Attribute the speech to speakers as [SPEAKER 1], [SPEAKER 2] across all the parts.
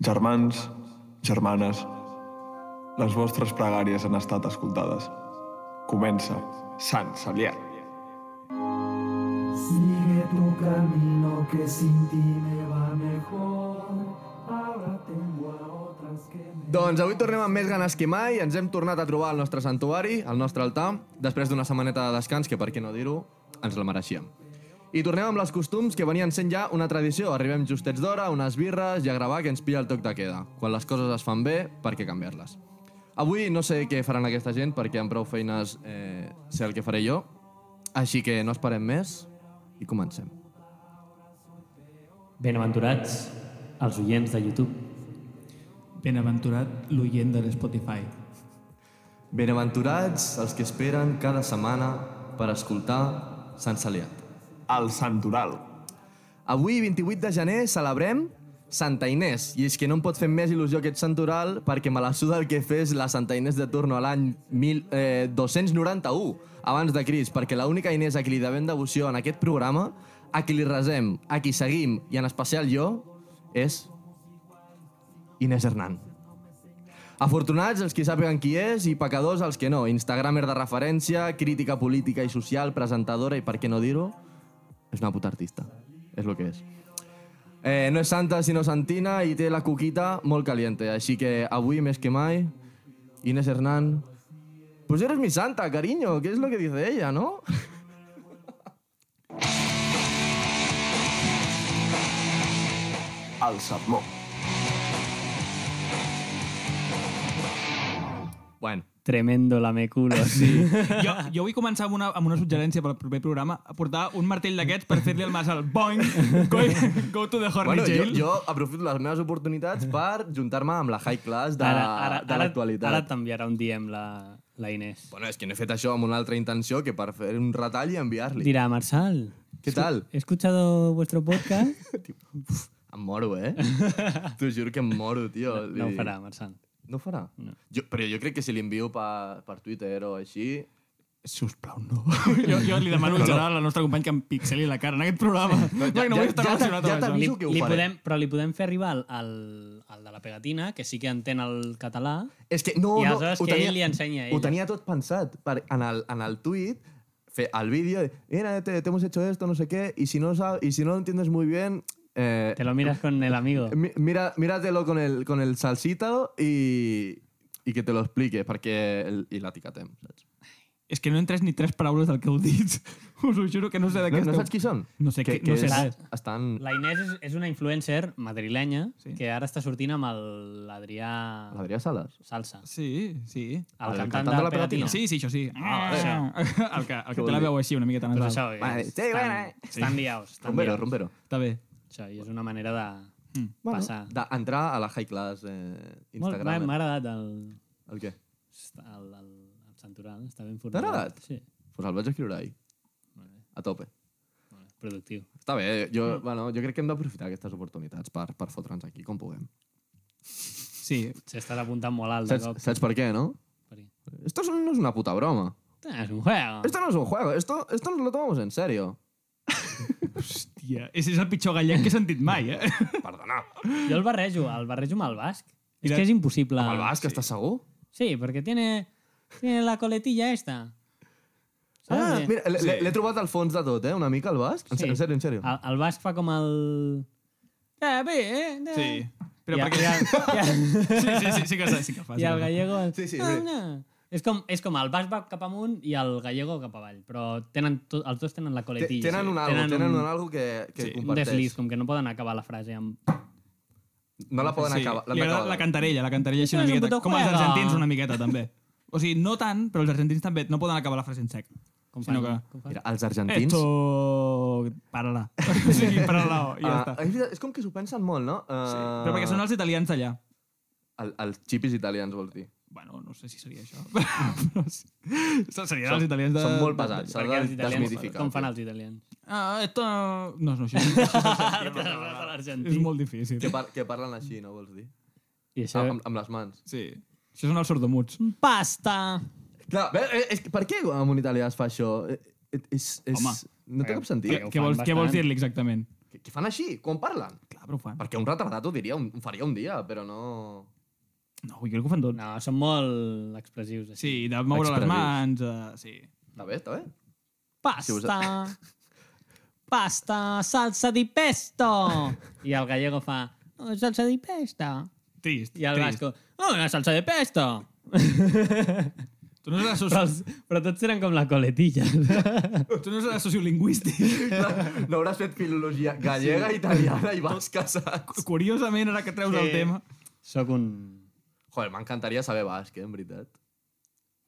[SPEAKER 1] Germans, germanes, les vostres pregàries han estat escoltades. Comença Sant Cebrià.
[SPEAKER 2] Sigue tu camino que sin ti me va mejor. Ahora tengo a otras que me...
[SPEAKER 3] Doncs avui tornem amb més ganes que mai, ens hem tornat a trobar al nostre santuari, al nostre altar, després d'una setmaneta de descans, que per què no dir-ho, ens la mereixíem. I tornem amb les costums que venien sent ja una tradició. Arribem justets d'hora, unes birres i a gravar que ens pilla el toc de queda. Quan les coses es fan bé, per què canviar-les? Avui no sé què faran aquesta gent, perquè amb prou feines eh, sé el que faré jo. Així que no esperem més i comencem.
[SPEAKER 4] Benaventurats els oients de YouTube.
[SPEAKER 5] Benaventurat l'oient de l'Spotify.
[SPEAKER 3] Benaventurats els que esperen cada setmana per escoltar Sant Celiat.
[SPEAKER 1] El Santoral.
[SPEAKER 3] Avui, 28 de gener, celebrem Santa Inés. I és que no em pot fer més il·lusió aquest santoral perquè me la suda el que fes la Santa Inés de turno a l'any mil- eh, 291 abans de Cris, perquè l'única Inés a qui li devem devoció en aquest programa, a qui li resem, a qui seguim, i en especial jo, és Inés Hernán. Afortunats els que sàpiguen qui és i pecadors els que no. Instagramer de referència, crítica política i social, presentadora i, per què no dir-ho, és una puta artista. És el que és. Eh, no és santa, sinó santina, i té la cuquita molt caliente. Així que avui, més que mai, Inés Hernán... Pues eres mi santa, cariño, que es lo que dice ella, ¿no?
[SPEAKER 1] El Sermó.
[SPEAKER 3] Bueno,
[SPEAKER 4] Tremendo la meculo. Sí.
[SPEAKER 5] Jo, jo vull començar amb una, amb una suggerència pel proper programa, a portar un martell d'aquests per fer-li el mas al boing, go, go to the horny
[SPEAKER 3] bueno jo,
[SPEAKER 5] jail.
[SPEAKER 3] jo aprofito les meves oportunitats per juntar-me amb la high class de,
[SPEAKER 4] Ara, ara,
[SPEAKER 3] de l'actualitat.
[SPEAKER 4] Ara, ara t'enviarà un DM la, la Inés.
[SPEAKER 3] Bueno, és que no he fet això amb una altra intenció que per fer un retall i enviar-li.
[SPEAKER 4] Dirà, Marçal,
[SPEAKER 3] Què tal?
[SPEAKER 4] he escuchado vuestro podcast.
[SPEAKER 3] Em moro, eh? T'ho juro que em moro, tio.
[SPEAKER 4] No ho farà, Marçal.
[SPEAKER 3] No ho farà? No. Jo, però jo crec que si li envio per, per Twitter o així...
[SPEAKER 5] Sisplau, no. Jo, jo li demano en general al nostre company que em pixeli la cara en aquest programa. No, ja, no vull estar
[SPEAKER 3] ja, ja,
[SPEAKER 5] relacionat
[SPEAKER 3] ja
[SPEAKER 5] amb això.
[SPEAKER 3] t'aviso que ho
[SPEAKER 4] li
[SPEAKER 3] faré.
[SPEAKER 4] podem, però li podem fer arribar al, al, al de la pegatina, que sí que entén el català.
[SPEAKER 3] És que no,
[SPEAKER 4] I
[SPEAKER 3] no,
[SPEAKER 4] aleshores que ell li ensenya a
[SPEAKER 3] Ho
[SPEAKER 4] ella.
[SPEAKER 3] tenia tot pensat. Per, en, el, en el tuit, fe, el vídeo, de, mira, te, te hemos hecho esto, no sé qué, y si no, sab- y si no lo entiendes muy bien, eh,
[SPEAKER 4] Te lo miras con el amigo.
[SPEAKER 3] mi- mira, míratelo con el, con el salsita i, i que te lo explique, perquè el, i l'etiquetem, saps?
[SPEAKER 5] És que no entres ni tres paraules del que heu dit. Us ho juro que no sé de
[SPEAKER 3] No,
[SPEAKER 5] què
[SPEAKER 3] no
[SPEAKER 5] esteu-
[SPEAKER 3] saps qui són?
[SPEAKER 5] No sé
[SPEAKER 3] que,
[SPEAKER 5] qui- no sé
[SPEAKER 3] és-
[SPEAKER 5] res.
[SPEAKER 3] Estan...
[SPEAKER 4] La Inés és, és una influencer madrilenya
[SPEAKER 5] Sí.
[SPEAKER 4] sí. que ara està sortint amb el- l'Adrià
[SPEAKER 3] L'Adrià Sales?
[SPEAKER 4] Salsa,
[SPEAKER 5] Sí, sí.
[SPEAKER 3] El
[SPEAKER 4] el, el
[SPEAKER 3] cantant de
[SPEAKER 4] cantant de
[SPEAKER 3] la
[SPEAKER 4] Ah, la
[SPEAKER 3] pegatina.
[SPEAKER 4] pegatina.
[SPEAKER 5] Sí, sí, això sí. Ah,
[SPEAKER 4] vale.
[SPEAKER 5] això. El que, el que té la veu així, una miqueta
[SPEAKER 4] Pues Doncs això,
[SPEAKER 5] nasal.
[SPEAKER 4] és,
[SPEAKER 3] Vale, sí,
[SPEAKER 4] estan,
[SPEAKER 3] bueno, eh.
[SPEAKER 4] estan liaus. Estan
[SPEAKER 3] Rombero,
[SPEAKER 4] liaus.
[SPEAKER 3] Rombero.
[SPEAKER 5] Està bé.
[SPEAKER 4] Això, i és una manera de
[SPEAKER 5] Mm.
[SPEAKER 3] Bueno,
[SPEAKER 4] passar.
[SPEAKER 3] d'entrar a la high class eh,
[SPEAKER 4] Molt, m'ha
[SPEAKER 3] Instagram.
[SPEAKER 4] m'ha agradat el,
[SPEAKER 3] el què?
[SPEAKER 4] el, el, el Santoral, està ben format.
[SPEAKER 3] agradat?
[SPEAKER 4] Sí,
[SPEAKER 3] Pues el vaig escriure ahir. A tope.
[SPEAKER 4] Vale, productiu.
[SPEAKER 3] Està bé, eh? jo, bueno, jo crec que hem d'aprofitar aquestes oportunitats per, per fotre'ns aquí com puguem.
[SPEAKER 5] Sí,
[SPEAKER 4] S'estàs apuntant molt alt de
[SPEAKER 3] Saps,
[SPEAKER 4] cop.
[SPEAKER 3] saps per què, no?
[SPEAKER 4] Per què?
[SPEAKER 3] Esto es- no es una puta broma.
[SPEAKER 4] Ah, És un juego.
[SPEAKER 3] Esto no es un juego. Esto, esto nos lo tomamos en serio.
[SPEAKER 5] Hòstia, és, és el pitjor gallec que he sentit mai, eh?
[SPEAKER 3] Perdona.
[SPEAKER 4] Jo el barrejo, el barrejo amb el basc. És
[SPEAKER 5] Mira,
[SPEAKER 4] que és impossible.
[SPEAKER 3] Amb el basc, sí. estàs segur?
[SPEAKER 4] Sí, perquè tiene, tiene la coletilla esta. Saps?
[SPEAKER 3] Ah,
[SPEAKER 4] Eh,
[SPEAKER 3] mira, l'he sí. l'he trobat al fons de tot, eh? Una mica, el basc. En,
[SPEAKER 4] Sí. Ah,
[SPEAKER 3] sí. en sèrio, en sèrio.
[SPEAKER 4] El, el basc fa com el... Eh, bé, eh? eh.
[SPEAKER 5] Sí. Però
[SPEAKER 4] I,
[SPEAKER 5] perquè...
[SPEAKER 4] el, i, el,
[SPEAKER 5] Sí, sí, sí, sí que, sí que fas.
[SPEAKER 4] i el gallego... El...
[SPEAKER 3] Sí, sí,
[SPEAKER 4] Ah,
[SPEAKER 3] sí.
[SPEAKER 4] no. És com, és com el basc va cap amunt i el gallego cap avall, però tenen to, els dos tenen la coletilla.
[SPEAKER 3] Tenen un algo, tenen, un algo que, que
[SPEAKER 5] Sí,
[SPEAKER 3] sí,
[SPEAKER 4] un desliz,
[SPEAKER 3] comparteix.
[SPEAKER 4] com que no poden acabar la frase amb...
[SPEAKER 3] No la poden
[SPEAKER 5] Sí,
[SPEAKER 3] acabar. l'han
[SPEAKER 5] li agrada
[SPEAKER 3] d'acabar.
[SPEAKER 5] la cantarella, la cantarella així
[SPEAKER 4] Això
[SPEAKER 5] una
[SPEAKER 4] és un
[SPEAKER 5] miqueta.
[SPEAKER 4] puto
[SPEAKER 5] Com els
[SPEAKER 4] juego.
[SPEAKER 5] argentins una miqueta, també. O sigui, no tant, però els argentins també no poden acabar la frase en sec.
[SPEAKER 4] Com
[SPEAKER 5] Sinó que...
[SPEAKER 4] com fan?
[SPEAKER 3] Mira, els argentins...
[SPEAKER 5] Esto... Para-la. O sigui, para-la. I ja
[SPEAKER 3] Ah,
[SPEAKER 5] està.
[SPEAKER 3] és, veritat, és com que s'ho pensen molt, no? Uh,
[SPEAKER 5] Sí. Però perquè són els italians d'allà.
[SPEAKER 3] El, els xipis italians, vols dir.
[SPEAKER 5] Bueno, no sé si seria això. Però sí. Seria dels italians de...
[SPEAKER 3] Són molt pesats, s'ha
[SPEAKER 4] Perquè
[SPEAKER 3] de
[SPEAKER 4] els italians,
[SPEAKER 3] desmitificar.
[SPEAKER 4] com fan els italians?
[SPEAKER 5] Ah, esto... No, no, això, això, és
[SPEAKER 4] I
[SPEAKER 5] molt difícil.
[SPEAKER 3] Que, par que parlen així, no vols dir?
[SPEAKER 4] això...
[SPEAKER 3] Amb, amb les mans.
[SPEAKER 5] Sí. Això són els sordomuts.
[SPEAKER 4] Pasta!
[SPEAKER 3] Clar, bé, eh, és, que per què amb un italià es fa això? Eh, eh, És, és,
[SPEAKER 5] Home,
[SPEAKER 3] no té cap sentit.
[SPEAKER 4] perquè-
[SPEAKER 5] Què vols,
[SPEAKER 4] fan
[SPEAKER 5] què vols
[SPEAKER 4] bastant.
[SPEAKER 5] dir-li exactament?
[SPEAKER 3] Que, que fan així, quan parlen.
[SPEAKER 5] Clar, però ho fan.
[SPEAKER 3] Perquè un retardat ho diria, un, ho faria un dia, però no...
[SPEAKER 5] No, jo crec que ho fan tot.
[SPEAKER 4] No, són molt expressius. Així.
[SPEAKER 5] Sí, de moure les
[SPEAKER 3] Expressius.
[SPEAKER 5] mans, uh, sí.
[SPEAKER 3] Està bé, està bé. Si us-
[SPEAKER 4] Pasta! Pasta, salsa di pesto! I el gallego fa... "Oh, salsa di pesto!
[SPEAKER 5] Trist,
[SPEAKER 4] I el
[SPEAKER 5] trist.
[SPEAKER 4] basco... Oh, una salsa de pesto!
[SPEAKER 5] Tu no
[SPEAKER 4] Però,
[SPEAKER 5] seràs, soci...
[SPEAKER 4] els, però tots eren com la coletilla.
[SPEAKER 5] tu no seràs sociolingüístic.
[SPEAKER 3] No hauràs fet filologia gallega, italiana i basca, saps?
[SPEAKER 5] Curiosament, ara que treus sí. el
[SPEAKER 4] Sí.
[SPEAKER 5] tema...
[SPEAKER 4] Sóc un...
[SPEAKER 3] Joder, m'encantaria saber basc, eh, en veritat.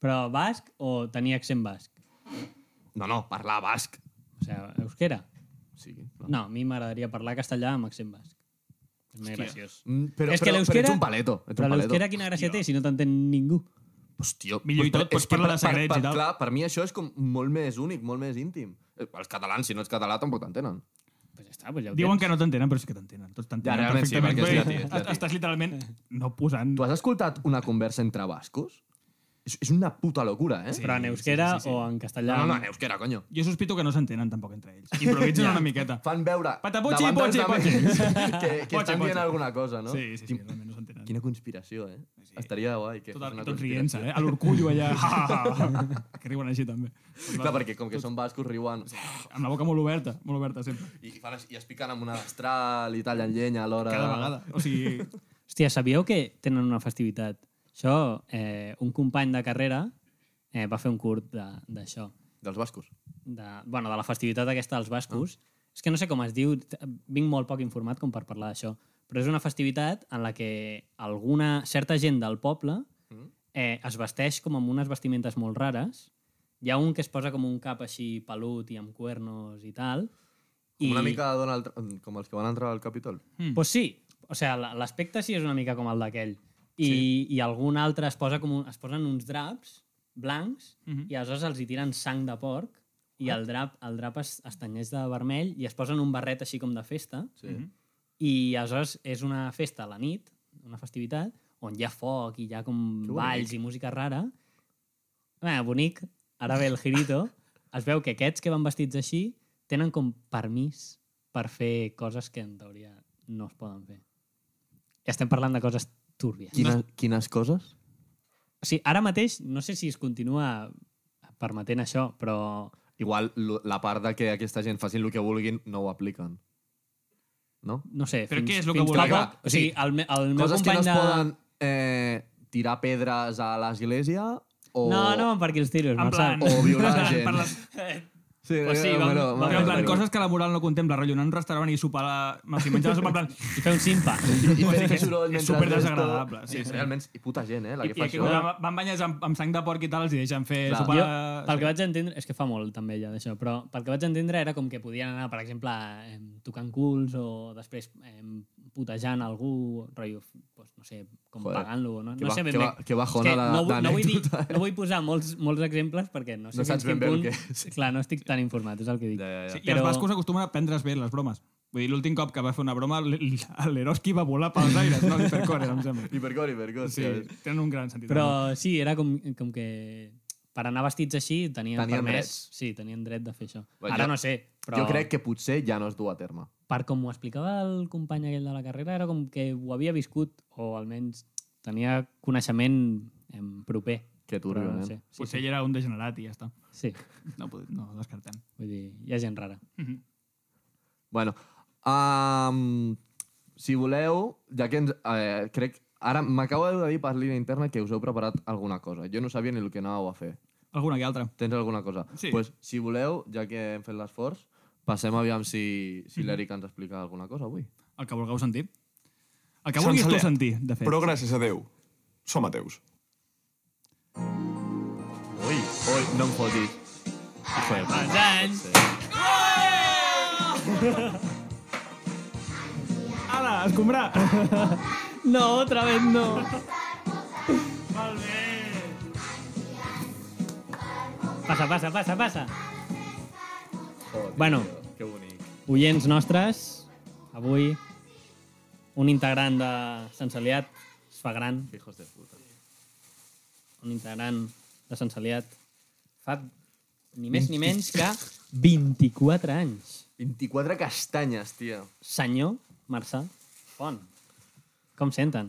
[SPEAKER 4] Però basc o tenia accent basc?
[SPEAKER 3] No, no, parlar basc.
[SPEAKER 4] O sigui, euskera?
[SPEAKER 3] Sí, clar.
[SPEAKER 4] No, a mi m'agradaria parlar castellà amb accent basc. És més graciós.
[SPEAKER 3] Mm, però,
[SPEAKER 4] És que
[SPEAKER 3] però,
[SPEAKER 4] l'euskera-
[SPEAKER 3] però ets un paleto. Ets
[SPEAKER 4] Però
[SPEAKER 3] un paleto.
[SPEAKER 4] l'euskera quina gràcia té si no t'entén ningú?
[SPEAKER 3] Hòstia,
[SPEAKER 5] Millor i
[SPEAKER 3] però
[SPEAKER 5] tot,
[SPEAKER 3] és
[SPEAKER 5] pots
[SPEAKER 3] que
[SPEAKER 5] parlar
[SPEAKER 3] per-
[SPEAKER 5] de secrets
[SPEAKER 3] per,
[SPEAKER 5] i tal.
[SPEAKER 3] Clar, per mi això és com molt més únic, molt més íntim. Eh, Els catalans, si no ets català, tampoc t'entenen.
[SPEAKER 4] Pues ja està, pues ja ho
[SPEAKER 5] Diuen
[SPEAKER 4] tens.
[SPEAKER 5] que no t'entenen, però sí que t'entenen. Tots t'entenen
[SPEAKER 3] Ja, realment sí,
[SPEAKER 5] perfectament.
[SPEAKER 3] perquè és
[SPEAKER 5] Vull dir,
[SPEAKER 3] llatí, és llatí.
[SPEAKER 5] Estàs literalment no posant...
[SPEAKER 3] Tu has escoltat una conversa entre bascos? És, és una puta locura, eh?
[SPEAKER 5] Sí.
[SPEAKER 4] Però en euskera
[SPEAKER 5] sí, sí, sí.
[SPEAKER 4] o en castellà...
[SPEAKER 3] No, no, no, en euskera, coño.
[SPEAKER 5] Jo sospito que no s'entenen tampoc entre ells. Improvisen una miqueta.
[SPEAKER 3] Fan veure...
[SPEAKER 5] Pataputxi,
[SPEAKER 3] davant dels
[SPEAKER 5] potxi,
[SPEAKER 3] altres Que, que
[SPEAKER 5] Potxi,
[SPEAKER 3] estan dient
[SPEAKER 5] potxi.
[SPEAKER 3] alguna cosa, no?
[SPEAKER 5] Sí, sí, sí,
[SPEAKER 3] Quin-
[SPEAKER 5] realment no s'entenen.
[SPEAKER 3] Quina conspiració, eh? Estaria guai que
[SPEAKER 5] Tot,
[SPEAKER 3] fos una
[SPEAKER 5] tot
[SPEAKER 3] conspiració.
[SPEAKER 5] rient-se, eh? A l'orcullo allà. Ha, ha, ha. que riuen així, també.
[SPEAKER 3] Clar, perquè com que són bascos, riuen...
[SPEAKER 5] Amb la boca molt oberta, molt oberta sempre.
[SPEAKER 3] I, fan, així- i es piquen amb una destral i tallen llenya alhora...
[SPEAKER 5] Cada vegada. O sigui,
[SPEAKER 4] Hòstia, sabíeu que tenen una festivitat? Això, eh, un company de carrera eh, va fer un curt de- d'això.
[SPEAKER 3] Dels bascos.
[SPEAKER 4] de, bueno, de la festivitat aquesta dels bascos.
[SPEAKER 3] Ah.
[SPEAKER 4] És que no sé com es diu, t- vinc molt poc informat com per parlar d'això, però és una festivitat en la que alguna certa gent del poble
[SPEAKER 3] Mm?
[SPEAKER 4] eh, es vesteix com amb unes vestimentes molt rares. Hi ha un que es posa com un cap així pelut i amb cuernos i tal.
[SPEAKER 3] I... Una mica Donald... Trump, Com els que van entrar al Capitol.
[SPEAKER 4] Pues sí, o sea, la- l'aspecte sí és una mica com el d'aquell. I, sí. I algun altre es, posa com un, es posen uns draps blancs
[SPEAKER 5] Mhm.
[SPEAKER 4] i aleshores els hi tiren sang de porc i
[SPEAKER 3] Ah.
[SPEAKER 4] el drap, el drap es, es tenyeix de vermell i es posen un barret així com de festa
[SPEAKER 3] Sí.
[SPEAKER 5] Mhm.
[SPEAKER 4] i aleshores és una festa a la nit, una festivitat, on hi ha foc i hi ha com
[SPEAKER 3] Que bonic.
[SPEAKER 4] balls i música rara. Bé, bonic, ara ve el girito. Es veu que aquests que van vestits així tenen com permís per fer coses que en teoria no es poden fer. I estem parlant de coses túrbies.
[SPEAKER 3] Quines, quines coses?
[SPEAKER 4] O sigui, ara mateix, no sé si es continua permetent això, però...
[SPEAKER 3] Igual lo- la part de que aquesta gent facin el que vulguin no ho apliquen. No?
[SPEAKER 4] No sé,
[SPEAKER 5] Però què és lo que
[SPEAKER 4] fins fa
[SPEAKER 5] volen?
[SPEAKER 4] poc- O sigui, el, me- el meu
[SPEAKER 3] Coses que no
[SPEAKER 4] company
[SPEAKER 3] es
[SPEAKER 4] de...
[SPEAKER 3] poden eh, tirar pedres a l'església o,
[SPEAKER 4] No, no van per aquí els tiros,
[SPEAKER 5] en
[SPEAKER 4] Marçal.
[SPEAKER 5] plan...
[SPEAKER 3] o violar gent.
[SPEAKER 5] Per les,
[SPEAKER 3] Sí,
[SPEAKER 4] Pues sí,
[SPEAKER 3] eh,
[SPEAKER 4] vam-
[SPEAKER 3] bueno,
[SPEAKER 4] vam-
[SPEAKER 3] bueno,
[SPEAKER 5] però en plan,
[SPEAKER 3] bueno.
[SPEAKER 5] coses que la moral no contempla. Rotllo, anar a un restaurant i sopar... La... O sigui, menjar la sopa, en plan...
[SPEAKER 4] I fer un simpa.
[SPEAKER 3] I fer fer soroll
[SPEAKER 5] és
[SPEAKER 3] mentre...
[SPEAKER 5] superdesagradable,
[SPEAKER 3] esto- Sí,
[SPEAKER 5] sí, sí.
[SPEAKER 3] realment, i puta gent, eh, la
[SPEAKER 5] I,
[SPEAKER 3] que
[SPEAKER 5] i
[SPEAKER 3] fa
[SPEAKER 5] que
[SPEAKER 3] això.
[SPEAKER 5] quan van banyes amb, amb sang de porc i tal, els hi deixen fer
[SPEAKER 3] Clar.
[SPEAKER 5] sopar...
[SPEAKER 4] Jo, pel que vaig entendre, és que fa molt també ja d'això, però pel que vaig entendre era com que podien anar, per exemple, eh, tocant culs o després eh, putejant algú, rotllo, pues, no sé, com
[SPEAKER 3] Joder,
[SPEAKER 4] pagant-lo, no,
[SPEAKER 3] que
[SPEAKER 4] no
[SPEAKER 3] ba-
[SPEAKER 4] sé ben
[SPEAKER 3] que
[SPEAKER 4] bé.
[SPEAKER 3] ba- que bajona
[SPEAKER 4] És
[SPEAKER 3] la-
[SPEAKER 4] no, vull- no, vull dir,
[SPEAKER 3] d'anècdota, eh?
[SPEAKER 4] no vull posar molts, molts exemples perquè no sé
[SPEAKER 3] No saps
[SPEAKER 4] fins quin
[SPEAKER 3] ben bé el
[SPEAKER 4] punt...
[SPEAKER 3] que és.
[SPEAKER 4] Clar, no estic tan informat, és el que dic.
[SPEAKER 3] Ja, ja, ja.
[SPEAKER 5] Sí, I
[SPEAKER 4] Però-
[SPEAKER 5] els bascos acostumen a prendre's bé les bromes. Vull dir, l'últim cop que va fer una broma, l- l- l'Eroski va volar pels aires, no? L'Hipercore, em sembla.
[SPEAKER 3] Hipercor, hipercor.
[SPEAKER 5] Sí, tenen un gran sentit.
[SPEAKER 4] Però sí, era com, com que per anar vestits així tenien,
[SPEAKER 3] Tenien
[SPEAKER 4] permès...
[SPEAKER 3] drets.
[SPEAKER 4] Sí, tenien dret de fer això.
[SPEAKER 3] Bueno,
[SPEAKER 4] Ara
[SPEAKER 3] jo-
[SPEAKER 4] no sé, però...
[SPEAKER 3] Jo crec que potser ja no es du a terme.
[SPEAKER 4] per com ho explicava el company aquell de la carrera, era com que ho havia viscut, o almenys tenia coneixement em, proper.
[SPEAKER 3] Que turbio,
[SPEAKER 4] Però no
[SPEAKER 3] eh?
[SPEAKER 4] sé. Sí,
[SPEAKER 5] Potser ell era un degenerat i ja està.
[SPEAKER 4] sí,
[SPEAKER 5] No, pot- no descartem.
[SPEAKER 4] vull dir, hi ha gent rara.
[SPEAKER 3] Bueno, um, si voleu, ja que ens... Eh, crec... Ara m'acabo de dir per línia interna que us heu preparat alguna cosa. Jo no sabia ni el que anàveu a fer.
[SPEAKER 5] Alguna que altra.
[SPEAKER 3] Tens alguna cosa?
[SPEAKER 5] Sí.
[SPEAKER 3] Pues, si voleu, ja que hem fet l'esforç, passem aviam si, si l'Eric ens explica alguna cosa avui.
[SPEAKER 5] El que vulgueu sentir. El que vulguis tu
[SPEAKER 1] Sense
[SPEAKER 5] sentir, de fet.
[SPEAKER 1] Però gràcies a Déu, som ateus.
[SPEAKER 3] Ui, ui, no em fotis. Joder,
[SPEAKER 4] Els anys!
[SPEAKER 5] Ala, escombrar!
[SPEAKER 4] No, otra vez no!
[SPEAKER 5] Molt bé!
[SPEAKER 4] Passa, passa, passa, passa!
[SPEAKER 3] Joder,
[SPEAKER 4] Bueno.
[SPEAKER 3] Que bonic.
[SPEAKER 4] Oients nostres, avui un integrant de Sant Celiat es fa gran,
[SPEAKER 3] Hijos de puta.
[SPEAKER 4] un integrant de Sant Celiat fa ni més ni menys que 24 anys.
[SPEAKER 3] 24 castanyes, tio.
[SPEAKER 4] Senyor Marçà Font. Com senten?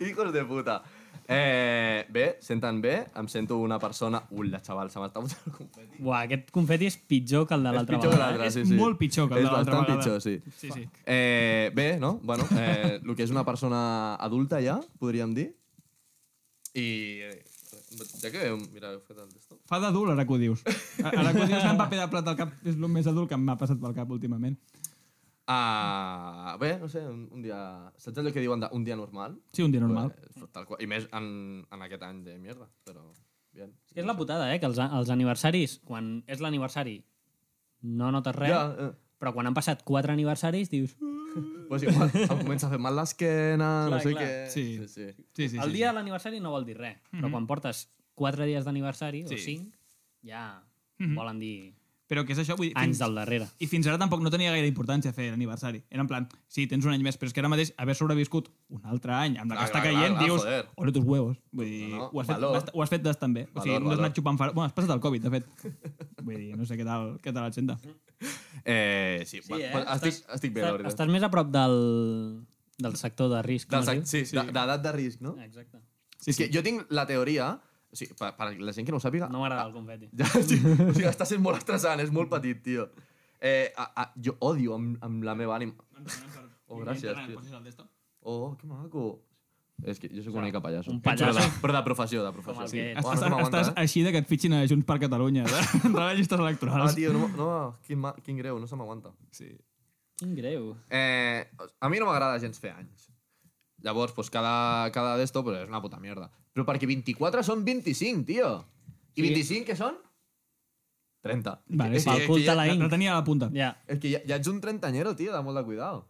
[SPEAKER 3] Hijos de puta. Eh, bé, senten bé, em sento una persona... Ula, xaval, se m'està posant el confeti.
[SPEAKER 4] Buah, aquest confeti és pitjor que el de l'altra
[SPEAKER 3] pitjor que
[SPEAKER 4] vegada.
[SPEAKER 3] l'altre,
[SPEAKER 5] És
[SPEAKER 3] sí, sí.
[SPEAKER 5] molt pitjor que el
[SPEAKER 3] És
[SPEAKER 5] de l'altra
[SPEAKER 3] bastant
[SPEAKER 5] vegada.
[SPEAKER 3] pitjor, sí.
[SPEAKER 5] Sí, sí.
[SPEAKER 3] Eh, bé, no? Bueno, eh, el que és una persona adulta ja, podríem dir. I... eh, Ja que... Mira, heu fet el testo.
[SPEAKER 5] Fa d'adult, ara que ho dius. Ara que ho dius, en paper de plat al cap és el més adult que m'ha passat pel cap últimament.
[SPEAKER 3] Ah, bé, no sé, un, un dia... Saps allò que diuen de, un dia normal?
[SPEAKER 5] Sí, un dia normal.
[SPEAKER 3] Pues, tal qual. I més en, en aquest any de mierda, però... Bien.
[SPEAKER 4] És que és la putada, eh? Que els, els aniversaris, quan és l'aniversari, no notes res,
[SPEAKER 3] Ja, eh.
[SPEAKER 4] però quan han passat quatre aniversaris dius... "Uh,
[SPEAKER 3] Pues igual, em comença a fer mal l'esquena, no
[SPEAKER 4] Clar,
[SPEAKER 3] sé
[SPEAKER 4] clar.
[SPEAKER 3] què...
[SPEAKER 5] Sí.
[SPEAKER 3] sí, sí.
[SPEAKER 5] Sí, sí, sí.
[SPEAKER 4] El dia de l'aniversari no vol dir res, però quan portes quatre dies d'aniversari, o
[SPEAKER 5] Sí.
[SPEAKER 4] cinc, ja
[SPEAKER 5] Mhm.
[SPEAKER 4] volen dir
[SPEAKER 5] Però que és això, vull dir...
[SPEAKER 4] anys del darrere.
[SPEAKER 5] I fins ara tampoc no tenia gaire importància fer l'aniversari. Era en plan, sí, tens un any més, però és que ara mateix haver sobreviscut un altre any amb la
[SPEAKER 3] Clar,
[SPEAKER 5] que està
[SPEAKER 3] Ah, clar,
[SPEAKER 5] caient,
[SPEAKER 3] clar,
[SPEAKER 5] dius,
[SPEAKER 3] joder.
[SPEAKER 5] ole tus huevos. Vull dir,
[SPEAKER 3] No, no,
[SPEAKER 5] ho, has fet,
[SPEAKER 3] valor.
[SPEAKER 5] bast- ho has fet bastant bé. o sigui,
[SPEAKER 3] Valor,
[SPEAKER 5] no has
[SPEAKER 3] valor.
[SPEAKER 5] anat xupant far... Bueno, has passat el Covid, de fet. Vull dir, no sé què tal, què tal et senta.
[SPEAKER 3] Mm-hmm. Eh, sí, sí eh? Estic,
[SPEAKER 4] Estàs-
[SPEAKER 3] estic bé,
[SPEAKER 4] estàs,
[SPEAKER 3] la veritat.
[SPEAKER 4] Estàs més a prop del, del sector de risc.
[SPEAKER 3] Del
[SPEAKER 4] com
[SPEAKER 3] sac-
[SPEAKER 4] es
[SPEAKER 3] sí, sí. d'edat de risc, no?
[SPEAKER 4] diu? Exacte.
[SPEAKER 3] Sí, és que jo tinc la teoria... O sigui, per, per la gent que no ho sàpiga...
[SPEAKER 4] No m'agrada el confeti.
[SPEAKER 3] Ja, sí, o sigui, està sent molt estressant, és molt petit, tio. Eh, a, a, jo odio amb, amb la meva ànima. Oh, gràcies, tio. Oh, que maco. És que jo sóc una mica pallasso.
[SPEAKER 4] un pallasso.
[SPEAKER 3] Però de, però de professió, de
[SPEAKER 4] Com
[SPEAKER 3] professió.
[SPEAKER 4] el
[SPEAKER 3] Sí.
[SPEAKER 4] que ets.
[SPEAKER 3] Oh, no
[SPEAKER 5] Estàs,
[SPEAKER 3] se m'aguanta,
[SPEAKER 5] estàs
[SPEAKER 3] eh?
[SPEAKER 5] així de que et fitxin a Junts per Catalunya, de, de les llistes
[SPEAKER 3] Ah,
[SPEAKER 5] electorals.
[SPEAKER 3] tio, no, no, quin, ma, quin greu, no se m'aguanta.
[SPEAKER 5] sí.
[SPEAKER 4] Quin greu.
[SPEAKER 3] Eh, a mi no m'agrada gens fer anys. Llavors, pues, cada, cada d'esto pues, és una puta mierda. Però perquè 24 són 25, tio. I
[SPEAKER 4] Sí.
[SPEAKER 3] 25 què són? 30.
[SPEAKER 5] Vale,
[SPEAKER 3] és,
[SPEAKER 5] sí,
[SPEAKER 3] que-
[SPEAKER 4] Pel
[SPEAKER 3] és que
[SPEAKER 4] cul
[SPEAKER 3] ja,
[SPEAKER 4] te la
[SPEAKER 5] La,
[SPEAKER 4] inc.
[SPEAKER 5] la tenia a la punta.
[SPEAKER 4] Ja.
[SPEAKER 3] és que ja, ja ets un trentanyero, tio, de molt de cuidado.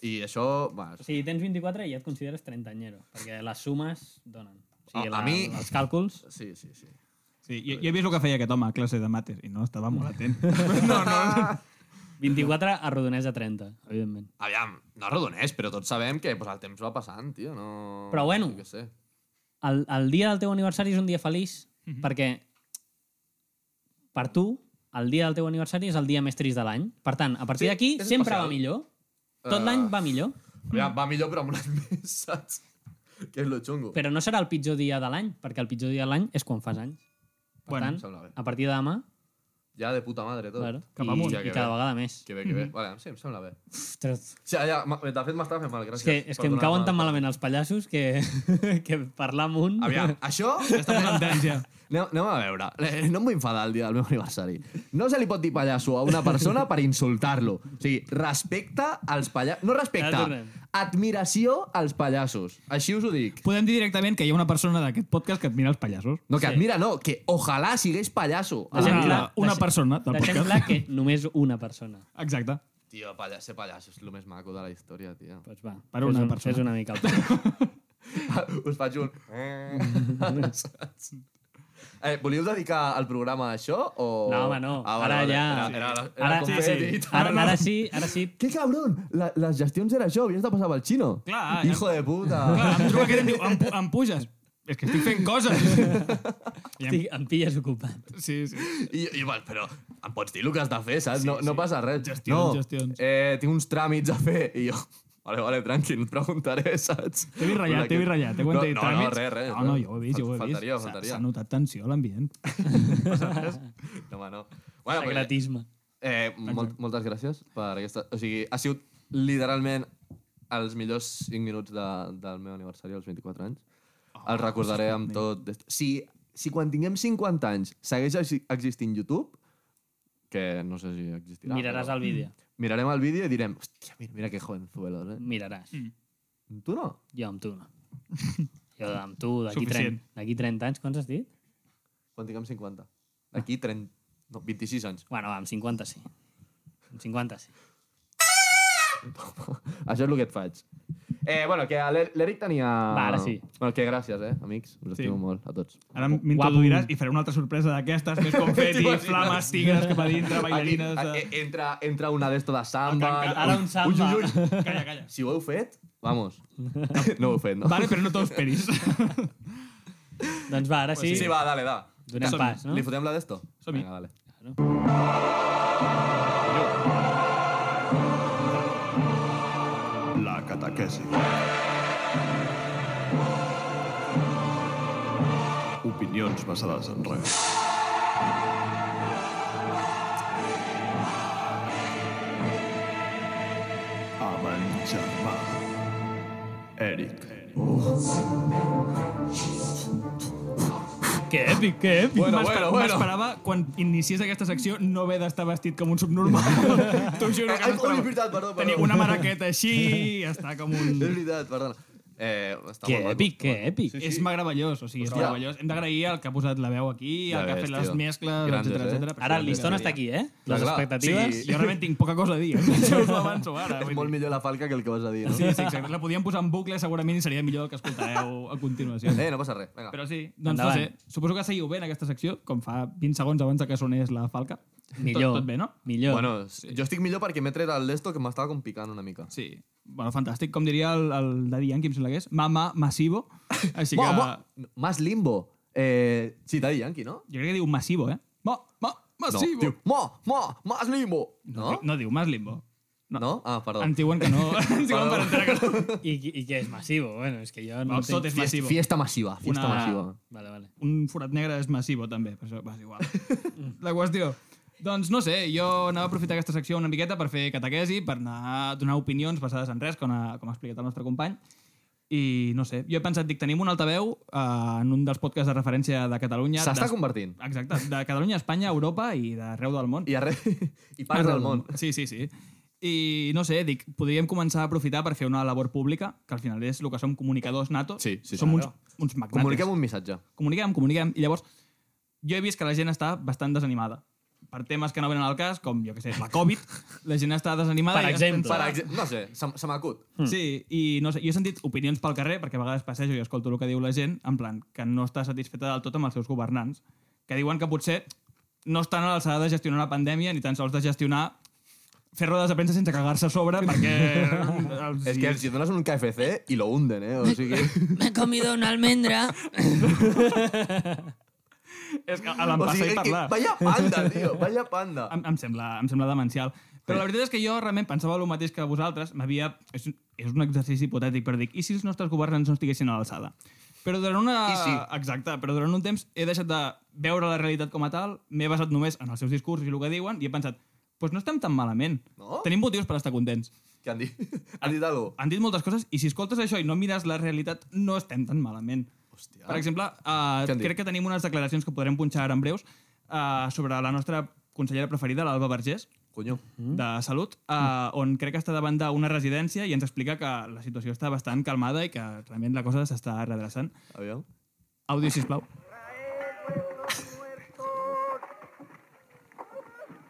[SPEAKER 3] I això... Va,
[SPEAKER 4] O sigui, tens 24 i ja et consideres trentanyero, perquè les sumes donen. O sigui,
[SPEAKER 3] A-
[SPEAKER 4] la,
[SPEAKER 3] a mi-
[SPEAKER 4] Els càlculs...
[SPEAKER 3] sí, sí, sí.
[SPEAKER 5] Sí, jo, jo he vist el que feia aquest home a classe de mates i no estava molt atent. No, no,
[SPEAKER 4] 24 arrodonés a 30, evidentment.
[SPEAKER 3] Aviam, no arrodonés, però tots sabem que pues, el temps va passant, tio. No...
[SPEAKER 4] Però bueno.
[SPEAKER 3] Jo què sé.
[SPEAKER 4] El, el dia del teu aniversari és un dia feliç,
[SPEAKER 5] Mhm.
[SPEAKER 4] perquè per tu, el dia del teu aniversari és el dia més trist de l'any. Per tant, a partir
[SPEAKER 3] Sí,
[SPEAKER 4] d'aquí,
[SPEAKER 3] és
[SPEAKER 4] sempre
[SPEAKER 3] especial.
[SPEAKER 4] va millor. Tot
[SPEAKER 3] Eh,
[SPEAKER 4] l'any va millor,
[SPEAKER 3] Aviam, va millor, però amb un any més, saps? Que és lo xungo.
[SPEAKER 4] però no serà el pitjor dia de l'any, perquè el pitjor dia de l'any és quan fas anys. Per
[SPEAKER 5] Bueno,
[SPEAKER 3] em sembla
[SPEAKER 4] tant,
[SPEAKER 3] bé.
[SPEAKER 4] a partir de demà,
[SPEAKER 3] Ja de puta madre, tot.
[SPEAKER 4] claro,
[SPEAKER 5] Cap
[SPEAKER 4] i,
[SPEAKER 5] amunt.
[SPEAKER 3] Ja que
[SPEAKER 4] i cada
[SPEAKER 3] bé.
[SPEAKER 4] vegada més.
[SPEAKER 3] Que bé, que bé. Vale, sí, em sembla bé.
[SPEAKER 4] Ostres,
[SPEAKER 3] Sí, ja, ma- de fet m'estava fent mal,
[SPEAKER 4] És
[SPEAKER 3] gràcies.
[SPEAKER 4] que, és
[SPEAKER 3] per
[SPEAKER 4] que em
[SPEAKER 3] donar-me
[SPEAKER 4] cauen tan
[SPEAKER 3] el-
[SPEAKER 4] malament els pallassos que, que parlar amb un...
[SPEAKER 3] Aviam, això...
[SPEAKER 5] està posant tens ja.
[SPEAKER 3] Anem, anem a veure. Eh, No em vull enfadar el dia del meu aniversari. No se li pot dir pallasso a una persona per insultar-lo. O sigui, respecte als pallassos... No
[SPEAKER 4] Ja
[SPEAKER 3] respecte,
[SPEAKER 4] tornem.
[SPEAKER 3] admiració als pallassos. Així us ho dic.
[SPEAKER 5] Podem dir directament que hi ha una persona d'aquest podcast que admira els pallassos.
[SPEAKER 3] No, que
[SPEAKER 4] Sí.
[SPEAKER 3] admira, no, que ojalà sigués pallasso.
[SPEAKER 4] Deixem
[SPEAKER 5] Una-
[SPEAKER 4] clar-
[SPEAKER 5] una
[SPEAKER 4] deixem-
[SPEAKER 5] persona del
[SPEAKER 4] Deixem
[SPEAKER 5] podcast.
[SPEAKER 4] clar que només una persona.
[SPEAKER 5] Exacte.
[SPEAKER 3] Tio, palla, ser pallasso és el més maco de la història, tio.
[SPEAKER 4] Doncs va,
[SPEAKER 5] Per una
[SPEAKER 4] fes un,
[SPEAKER 5] persona.
[SPEAKER 4] Fes una mica el pal.
[SPEAKER 3] Us faig un... Eh, volíeu dedicar el programa a això o...
[SPEAKER 4] No, home, no.
[SPEAKER 3] Ah, vale,
[SPEAKER 4] ara
[SPEAKER 3] vale.
[SPEAKER 4] ja...
[SPEAKER 3] Era, era, era
[SPEAKER 4] ara,
[SPEAKER 3] com
[SPEAKER 4] sí,
[SPEAKER 3] fer
[SPEAKER 4] sí.
[SPEAKER 3] dit.
[SPEAKER 4] Ara, ara sí, ara sí.
[SPEAKER 3] Que cabrón, la, les gestions era això, havies de passar pel xino.
[SPEAKER 5] Clar,
[SPEAKER 3] Hijo de puta.
[SPEAKER 5] Clar, Ah, em truca aquest i em diu, em, pu- em puges? És que estic fent coses.
[SPEAKER 4] Estic, em pilles ocupat.
[SPEAKER 5] Sí, sí.
[SPEAKER 3] I, i val, però em pots dir el que has de fer, saps? no, no passa res.
[SPEAKER 5] Gestions,
[SPEAKER 3] no,
[SPEAKER 5] gestions.
[SPEAKER 3] Eh, tinc uns tràmits a fer. I jo, vale, vale, tranqui, no et preguntaré, saps?
[SPEAKER 5] T'he vist ratllat, t'he vist ratllat. T'he
[SPEAKER 3] no,
[SPEAKER 5] aguantat
[SPEAKER 3] no,
[SPEAKER 5] tràmits.
[SPEAKER 3] No, res, res.
[SPEAKER 5] No, no, jo ho he vist, jo ho he vist.
[SPEAKER 3] faltaria,
[SPEAKER 5] S'ha-
[SPEAKER 3] Faltaria,
[SPEAKER 5] S'ha notat tensió a l'ambient.
[SPEAKER 3] No, home, no. Bueno, però-
[SPEAKER 4] Secretisme.
[SPEAKER 3] Eh, molt, moltes gràcies per aquesta... O sigui, ha sigut literalment els millors 5 minuts de, del meu aniversari als 24 anys. Oh,
[SPEAKER 4] Ah,
[SPEAKER 3] el recordaré amb tot... d'est- Si, si quan tinguem 50 anys segueix exi- existint YouTube, que no sé si existirà...
[SPEAKER 4] Miraràs el vídeo.
[SPEAKER 3] Mirarem el vídeo i direm hòstia, mira, mira que jovenzuelos, eh?
[SPEAKER 4] Miraràs.
[SPEAKER 3] Tu no?
[SPEAKER 4] Jo amb tu no. Jo amb tu, d'aquí
[SPEAKER 5] Suficient.
[SPEAKER 4] 30, d'aquí 30 anys, quants has dit?
[SPEAKER 3] Quan tinguem 50. Aquí 30... No, 26 anys.
[SPEAKER 4] Bueno, va, amb 50 sí. Amb 50 sí.
[SPEAKER 3] Això és el que et faig. Eh, bueno, que l'E- l'Eric tenia...
[SPEAKER 4] Va, ara sí.
[SPEAKER 3] Bueno, que gràcies, eh, amics. Us estimo molt a tots.
[SPEAKER 5] Ara m'introduiràs i faré una altra sorpresa d'aquestes, més confeti, flames, tigres cap a dintre, bailarines...
[SPEAKER 3] Aquí,
[SPEAKER 5] De...
[SPEAKER 3] eh, entra, entra una d'esto de samba.
[SPEAKER 4] Ara- ara un samba.
[SPEAKER 3] Ui, ui, ui.
[SPEAKER 5] Calla, calla.
[SPEAKER 3] Si ho heu fet, vamos. No ho heu fet, no?
[SPEAKER 5] Vale, però no t'ho esperis.
[SPEAKER 4] Doncs va, ara sí.
[SPEAKER 3] Sí, va, dale, da.
[SPEAKER 4] Donem
[SPEAKER 5] Som-
[SPEAKER 4] pas, no?
[SPEAKER 3] ¿Le fotem la de esto?
[SPEAKER 5] Som-hi.
[SPEAKER 3] Vinga, vale.
[SPEAKER 1] La catequesi. Opinions basades en res. Amb en germà. Eric.
[SPEAKER 5] Que èpic, que èpic.
[SPEAKER 3] Bueno,
[SPEAKER 5] M'esper-
[SPEAKER 3] bueno, bueno.
[SPEAKER 5] M'esperava, quan iniciés aquesta secció, no haver d'estar vestit com un subnormal. T'ho juro
[SPEAKER 3] Eh,
[SPEAKER 5] que
[SPEAKER 3] ai,
[SPEAKER 5] m'esperava.
[SPEAKER 3] ui, veritat, perdó, perdó.
[SPEAKER 5] Tenir una maraqueta així, estar com
[SPEAKER 3] Es
[SPEAKER 5] un...
[SPEAKER 3] verdad, perdona. Eh, està
[SPEAKER 4] Que
[SPEAKER 3] molt maco,
[SPEAKER 4] èpic, que
[SPEAKER 3] molt maco.
[SPEAKER 4] èpic.
[SPEAKER 5] És meravellós, o sigui, és
[SPEAKER 3] Hòstia.
[SPEAKER 5] meravellós. Hem d'agrair al que ha posat la veu aquí,
[SPEAKER 3] Ja
[SPEAKER 5] al que ha
[SPEAKER 3] ves,
[SPEAKER 5] fet les
[SPEAKER 3] tio.
[SPEAKER 5] mescles,
[SPEAKER 3] Grandes,
[SPEAKER 5] etcètera,
[SPEAKER 3] eh?
[SPEAKER 5] etcètera.
[SPEAKER 4] Ara el listón
[SPEAKER 3] Mira,
[SPEAKER 4] està aquí, eh?
[SPEAKER 3] Clar,
[SPEAKER 4] Les
[SPEAKER 3] clar.
[SPEAKER 4] expectatives...
[SPEAKER 5] Jo realment tinc poca cosa a dir. eh? Ja us ho avanço ara.
[SPEAKER 3] És
[SPEAKER 5] vull
[SPEAKER 3] molt
[SPEAKER 5] dir.
[SPEAKER 3] millor la falca que el que vas a dir, no?
[SPEAKER 5] Sí, sí, exacte. La podíem posar en bucle, segurament, i seria millor el que escoltareu a continuació.
[SPEAKER 3] Eh, no passa res, vinga.
[SPEAKER 5] Però sí, doncs no
[SPEAKER 4] Endavant.
[SPEAKER 5] sé, suposo que seguiu bé en aquesta secció, com fa 20 segons abans de que sonés la falca.
[SPEAKER 4] Millor.
[SPEAKER 5] Tot, tot bé, no?
[SPEAKER 4] Millor.
[SPEAKER 3] Bueno, jo estic millor perquè m'he tret el d'esto que m'estava com picant una mica.
[SPEAKER 5] Sí. Bueno, fantàstic. Com diria el, el Daddy Yankee, em sembla que és, mama massivo. Així que...
[SPEAKER 3] Mo, mo, más limbo. Eh, sí, Daddy Yankee, no?
[SPEAKER 5] Jo crec que diu massivo, eh? Ma, ma, massivo.
[SPEAKER 3] No, diu, mo, mo, más limbo.
[SPEAKER 5] No,
[SPEAKER 3] No?
[SPEAKER 5] no diu mas limbo.
[SPEAKER 3] No? Ah, perdó.
[SPEAKER 5] Ens diuen que no. Ens diuen per entrar que no.
[SPEAKER 4] I, I què és massivo? Bueno, és que jo no
[SPEAKER 5] Bueno, tot
[SPEAKER 4] entenc...
[SPEAKER 5] és
[SPEAKER 3] Fiesta,
[SPEAKER 5] massivo.
[SPEAKER 3] fiesta massiva, fiesta
[SPEAKER 5] Una-
[SPEAKER 3] massiva.
[SPEAKER 4] Vale, vale.
[SPEAKER 5] Un forat negre és massivo, també. Per això, va, és igual. La qüestió... Doncs no sé, jo anava a aprofitar aquesta secció una miqueta per fer catequesi, per anar a donar opinions basades en res, com ha, com ha explicat el nostre company. I no sé, jo he pensat, dic, tenim un altaveu eh, en un dels podcasts de referència de Catalunya.
[SPEAKER 3] S'està
[SPEAKER 5] d'Es-
[SPEAKER 3] convertint.
[SPEAKER 5] Exacte, de Catalunya, Espanya, Europa i d'arreu del món.
[SPEAKER 3] I, arre... I parts del món.
[SPEAKER 5] Sí, sí, sí. I no sé, dic, podríem començar a aprofitar per fer una labor pública, que al final és el que som comunicadors natos.
[SPEAKER 3] Sí, sí,
[SPEAKER 5] Som
[SPEAKER 3] claro.
[SPEAKER 5] uns, uns magnates.
[SPEAKER 3] Comuniquem un missatge.
[SPEAKER 5] comuniquem, comuniquem. I llavors, jo he vist que la gent està bastant desanimada. Per temes que no venen al cas, com, jo què sé, la Covid, la gent està desanimada.
[SPEAKER 4] Per
[SPEAKER 5] i es
[SPEAKER 4] exemple.
[SPEAKER 5] pensa-
[SPEAKER 3] Per exemple, no sé, se, se m'acut.
[SPEAKER 5] Sí, i no sé, jo he sentit opinions pel carrer, perquè a vegades passejo i escolto el que diu la gent, en plan, que no està satisfeta del tot amb els seus governants, que diuen que potser no estan a l'alçada de gestionar una pandèmia ni tan sols de gestionar fer rodes de premsa sense cagar-se a sobre perquè... els-
[SPEAKER 3] És que els hi dones un KFC i lo hunden, eh? O sigui...
[SPEAKER 6] Me he comido una almendra.
[SPEAKER 5] és que a
[SPEAKER 3] o
[SPEAKER 5] l'empassa
[SPEAKER 3] sigui
[SPEAKER 5] i
[SPEAKER 3] que,
[SPEAKER 5] parlar.
[SPEAKER 3] vaya panda, tio, vaya panda.
[SPEAKER 5] Em, em, sembla, em sembla demencial. Però la veritat és que jo realment pensava el mateix que vosaltres. M'havia... És, un- és un exercici hipotètic, però dic, i si els nostres governants no estiguessin a l'alçada? Però durant una...
[SPEAKER 3] I sí.
[SPEAKER 5] Exacte, però durant un temps he deixat de veure la realitat com a tal, m'he basat només en els seus discursos i el que diuen, i he pensat, doncs pues no estem tan malament.
[SPEAKER 3] No?
[SPEAKER 5] Tenim motius per estar contents.
[SPEAKER 3] Què han dit? Han dit alguna cosa?
[SPEAKER 5] Han dit moltes coses, i si escoltes això i no mires la realitat, no estem tan malament.
[SPEAKER 3] Hòstia.
[SPEAKER 5] Per exemple,
[SPEAKER 3] Què
[SPEAKER 5] uh,
[SPEAKER 3] han dit?
[SPEAKER 5] crec que tenim unes declaracions que podrem punxar ara en breus uh, sobre la nostra consellera preferida, l'Alba Vergés,
[SPEAKER 3] Conyo.
[SPEAKER 5] de Salut, uh, on crec que està davant d'una residència i ens explica que la situació està bastant calmada i que realment la cosa s'està redreçant.
[SPEAKER 3] Aviam.
[SPEAKER 5] Àudio, sisplau.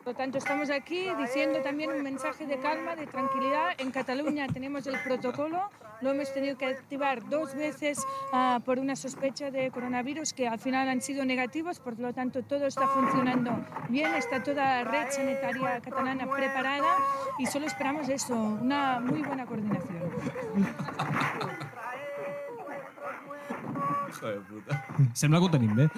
[SPEAKER 7] Por lo tanto, estamos aquí diciendo también un mensaje de calma, de tranquilidad. En Cataluña tenemos el protocolo, lo hemos tenido que activar dos veces ah, por una sospecha de coronavirus que al final han sido negativos, por lo tanto todo está funcionando bien, está toda la red sanitaria catalana preparada y solo esperamos eso, una muy buena coordinación.
[SPEAKER 3] Hijo de puta.
[SPEAKER 5] Sembla que ho tenim bé.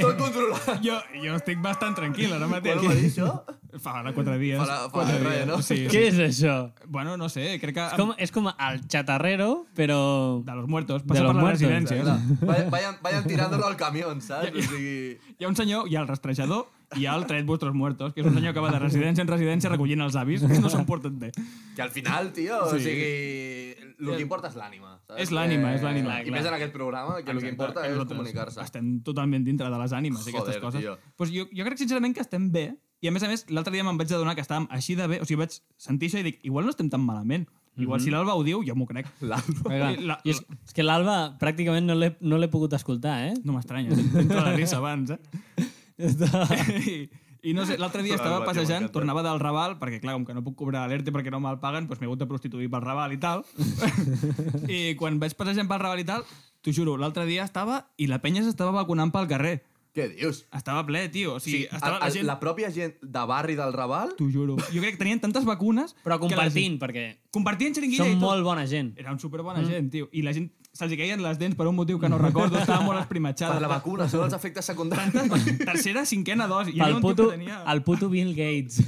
[SPEAKER 3] Tot controlat.
[SPEAKER 5] Jo, jo estic bastant tranquil ara mateix.
[SPEAKER 3] Quan ho va dir, això?
[SPEAKER 5] Fa ara quatre dies.
[SPEAKER 3] Fa la- fa
[SPEAKER 5] quatre
[SPEAKER 3] la-
[SPEAKER 5] dies,
[SPEAKER 3] no?
[SPEAKER 5] Sí,
[SPEAKER 4] Què
[SPEAKER 5] sí.
[SPEAKER 4] és això?
[SPEAKER 5] Bueno, no sé, crec que...
[SPEAKER 4] És com, és com el xatarrero, però...
[SPEAKER 5] De los muertos. Passa
[SPEAKER 4] los
[SPEAKER 5] per la
[SPEAKER 4] muertos,
[SPEAKER 5] residència.
[SPEAKER 3] Vayan, vayan, vayan tirándolo al camión, saps? O sigui...
[SPEAKER 5] Hi ha un senyor, hi ha el rastrejador, i hi ha el Traed Vostros Muertos, que és un senyor que va de residència en residència recollint els avis, que no s'han portat bé.
[SPEAKER 3] Que al final, tio, sí. o
[SPEAKER 5] Sí.
[SPEAKER 3] sigui... El que importa és l'ànima. saps?
[SPEAKER 5] És l'ànima, és l'ànima.
[SPEAKER 3] I
[SPEAKER 5] Clar.
[SPEAKER 3] més en aquest programa, que el que importa
[SPEAKER 5] que
[SPEAKER 3] és
[SPEAKER 5] nosaltres
[SPEAKER 3] comunicar-se.
[SPEAKER 5] Estem totalment dintre de les ànimes i aquestes
[SPEAKER 3] Joder, tio.
[SPEAKER 5] coses. Pues jo, jo crec sincerament que estem bé. I a més a més, l'altre dia me'n vaig adonar que estàvem així de bé. O sigui, vaig sentir això i dic, igual no estem tan malament. Igual si l'Alba ho diu, jo m'ho crec.
[SPEAKER 4] Vinga,
[SPEAKER 5] La-
[SPEAKER 4] i és, és que l'Alba pràcticament no l'he no l'he pogut escoltar, eh?
[SPEAKER 5] No m'estranya, entra la risa abans, eh? I, I no sé, l'altre dia estava
[SPEAKER 1] Alba, tio,
[SPEAKER 5] passejant,
[SPEAKER 1] m'encanta.
[SPEAKER 5] tornava del Raval, perquè clar, com que no puc cobrar l'ERTE perquè no me'l paguen, doncs m'he hagut de prostituir pel Raval i tal. I quan vaig passejant pel Raval i tal, t'ho juro, l'altre dia estava i la penya s'estava vacunant pel carrer.
[SPEAKER 3] Què dius?
[SPEAKER 5] Estava ple, tio. O
[SPEAKER 3] O sigui,
[SPEAKER 5] sigui, estava
[SPEAKER 3] el-
[SPEAKER 5] la
[SPEAKER 3] el-
[SPEAKER 5] gent...
[SPEAKER 3] la pròpia gent de barri del Raval...
[SPEAKER 5] T'ho juro. Jo crec que tenien tantes vacunes...
[SPEAKER 4] Però
[SPEAKER 5] que la
[SPEAKER 4] compartint, perquè
[SPEAKER 5] Gent... Compartien xeringuilla
[SPEAKER 4] són
[SPEAKER 5] i tot.
[SPEAKER 4] molt bona gent.
[SPEAKER 5] Era un superbona mm. gent, tio. I la gent se'ls hi caien les dents per un motiu que no recordo, estava molt esprimatxada.
[SPEAKER 3] Per la vacuna, són els efectes secundaris.
[SPEAKER 5] Tercera, cinquena dosi. I
[SPEAKER 4] Pel
[SPEAKER 5] un
[SPEAKER 4] puto,
[SPEAKER 5] tio que tenia...
[SPEAKER 4] el puto Bill Gates.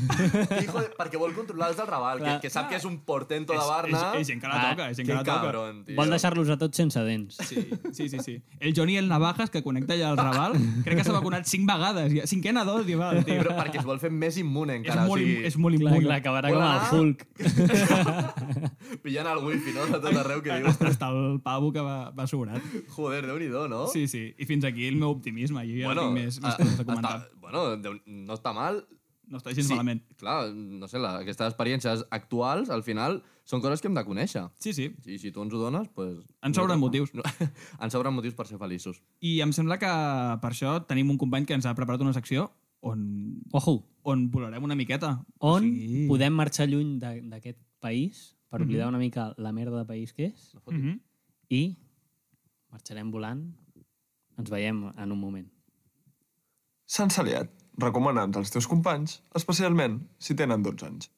[SPEAKER 3] Hijo de- perquè vol controlar els del Raval, que,
[SPEAKER 4] Clar.
[SPEAKER 3] que sap que és un portento de
[SPEAKER 5] És-
[SPEAKER 3] Barna.
[SPEAKER 5] És, és gent que la
[SPEAKER 4] Ah,
[SPEAKER 5] toca, és gent
[SPEAKER 3] que
[SPEAKER 5] que la toca.
[SPEAKER 3] cabron, tio.
[SPEAKER 4] Vol deixar-los a tots sense dents.
[SPEAKER 5] Sí, sí, sí, sí. El Johnny el Navajas, que connecta allà al Raval, crec que s'ha vacunat cinc vegades. ja. Cinquena dosi, va, el
[SPEAKER 3] Tio,
[SPEAKER 5] tio.
[SPEAKER 3] però perquè es vol fer més immune,
[SPEAKER 5] És
[SPEAKER 3] encara.
[SPEAKER 5] molt,
[SPEAKER 3] o
[SPEAKER 5] im-
[SPEAKER 3] sigui,
[SPEAKER 5] és molt
[SPEAKER 4] Clar,
[SPEAKER 5] immune.
[SPEAKER 4] clar, acabarà com
[SPEAKER 3] Hola.
[SPEAKER 4] el Hulk.
[SPEAKER 3] Pillant el wifi, no?, de tot arreu que dius.
[SPEAKER 5] Hasta, hasta el pavo que va, va sobrat.
[SPEAKER 3] Joder, déu-n'hi-do, no?
[SPEAKER 5] Sí, sí. I fins aquí el meu optimisme. Jo ja bueno, eh, tinc més, més
[SPEAKER 3] a-
[SPEAKER 5] coses a comentar.
[SPEAKER 3] Està, ah, bueno, déu- no està mal.
[SPEAKER 5] No està gens sí. malament.
[SPEAKER 3] clar, no sé, la, aquestes experiències actuals, al final, són coses que hem de conèixer.
[SPEAKER 5] Sí, sí.
[SPEAKER 3] I si tu ens ho dones, doncs...
[SPEAKER 5] Ens sobren motius.
[SPEAKER 3] No, ens sobren motius per ser feliços.
[SPEAKER 5] I em sembla que per això tenim un company que ens ha preparat una secció on,
[SPEAKER 4] Ojo,
[SPEAKER 5] on volarem una miqueta.
[SPEAKER 4] on
[SPEAKER 5] Sí.
[SPEAKER 4] podem marxar lluny de- d'aquest país per oblidar una mica la merda de país que és
[SPEAKER 5] Mm -hmm.
[SPEAKER 4] i marxarem volant. Ens veiem en un moment.
[SPEAKER 8] Sans Aliat, recomana'ns als teus companys, especialment si tenen 12 anys.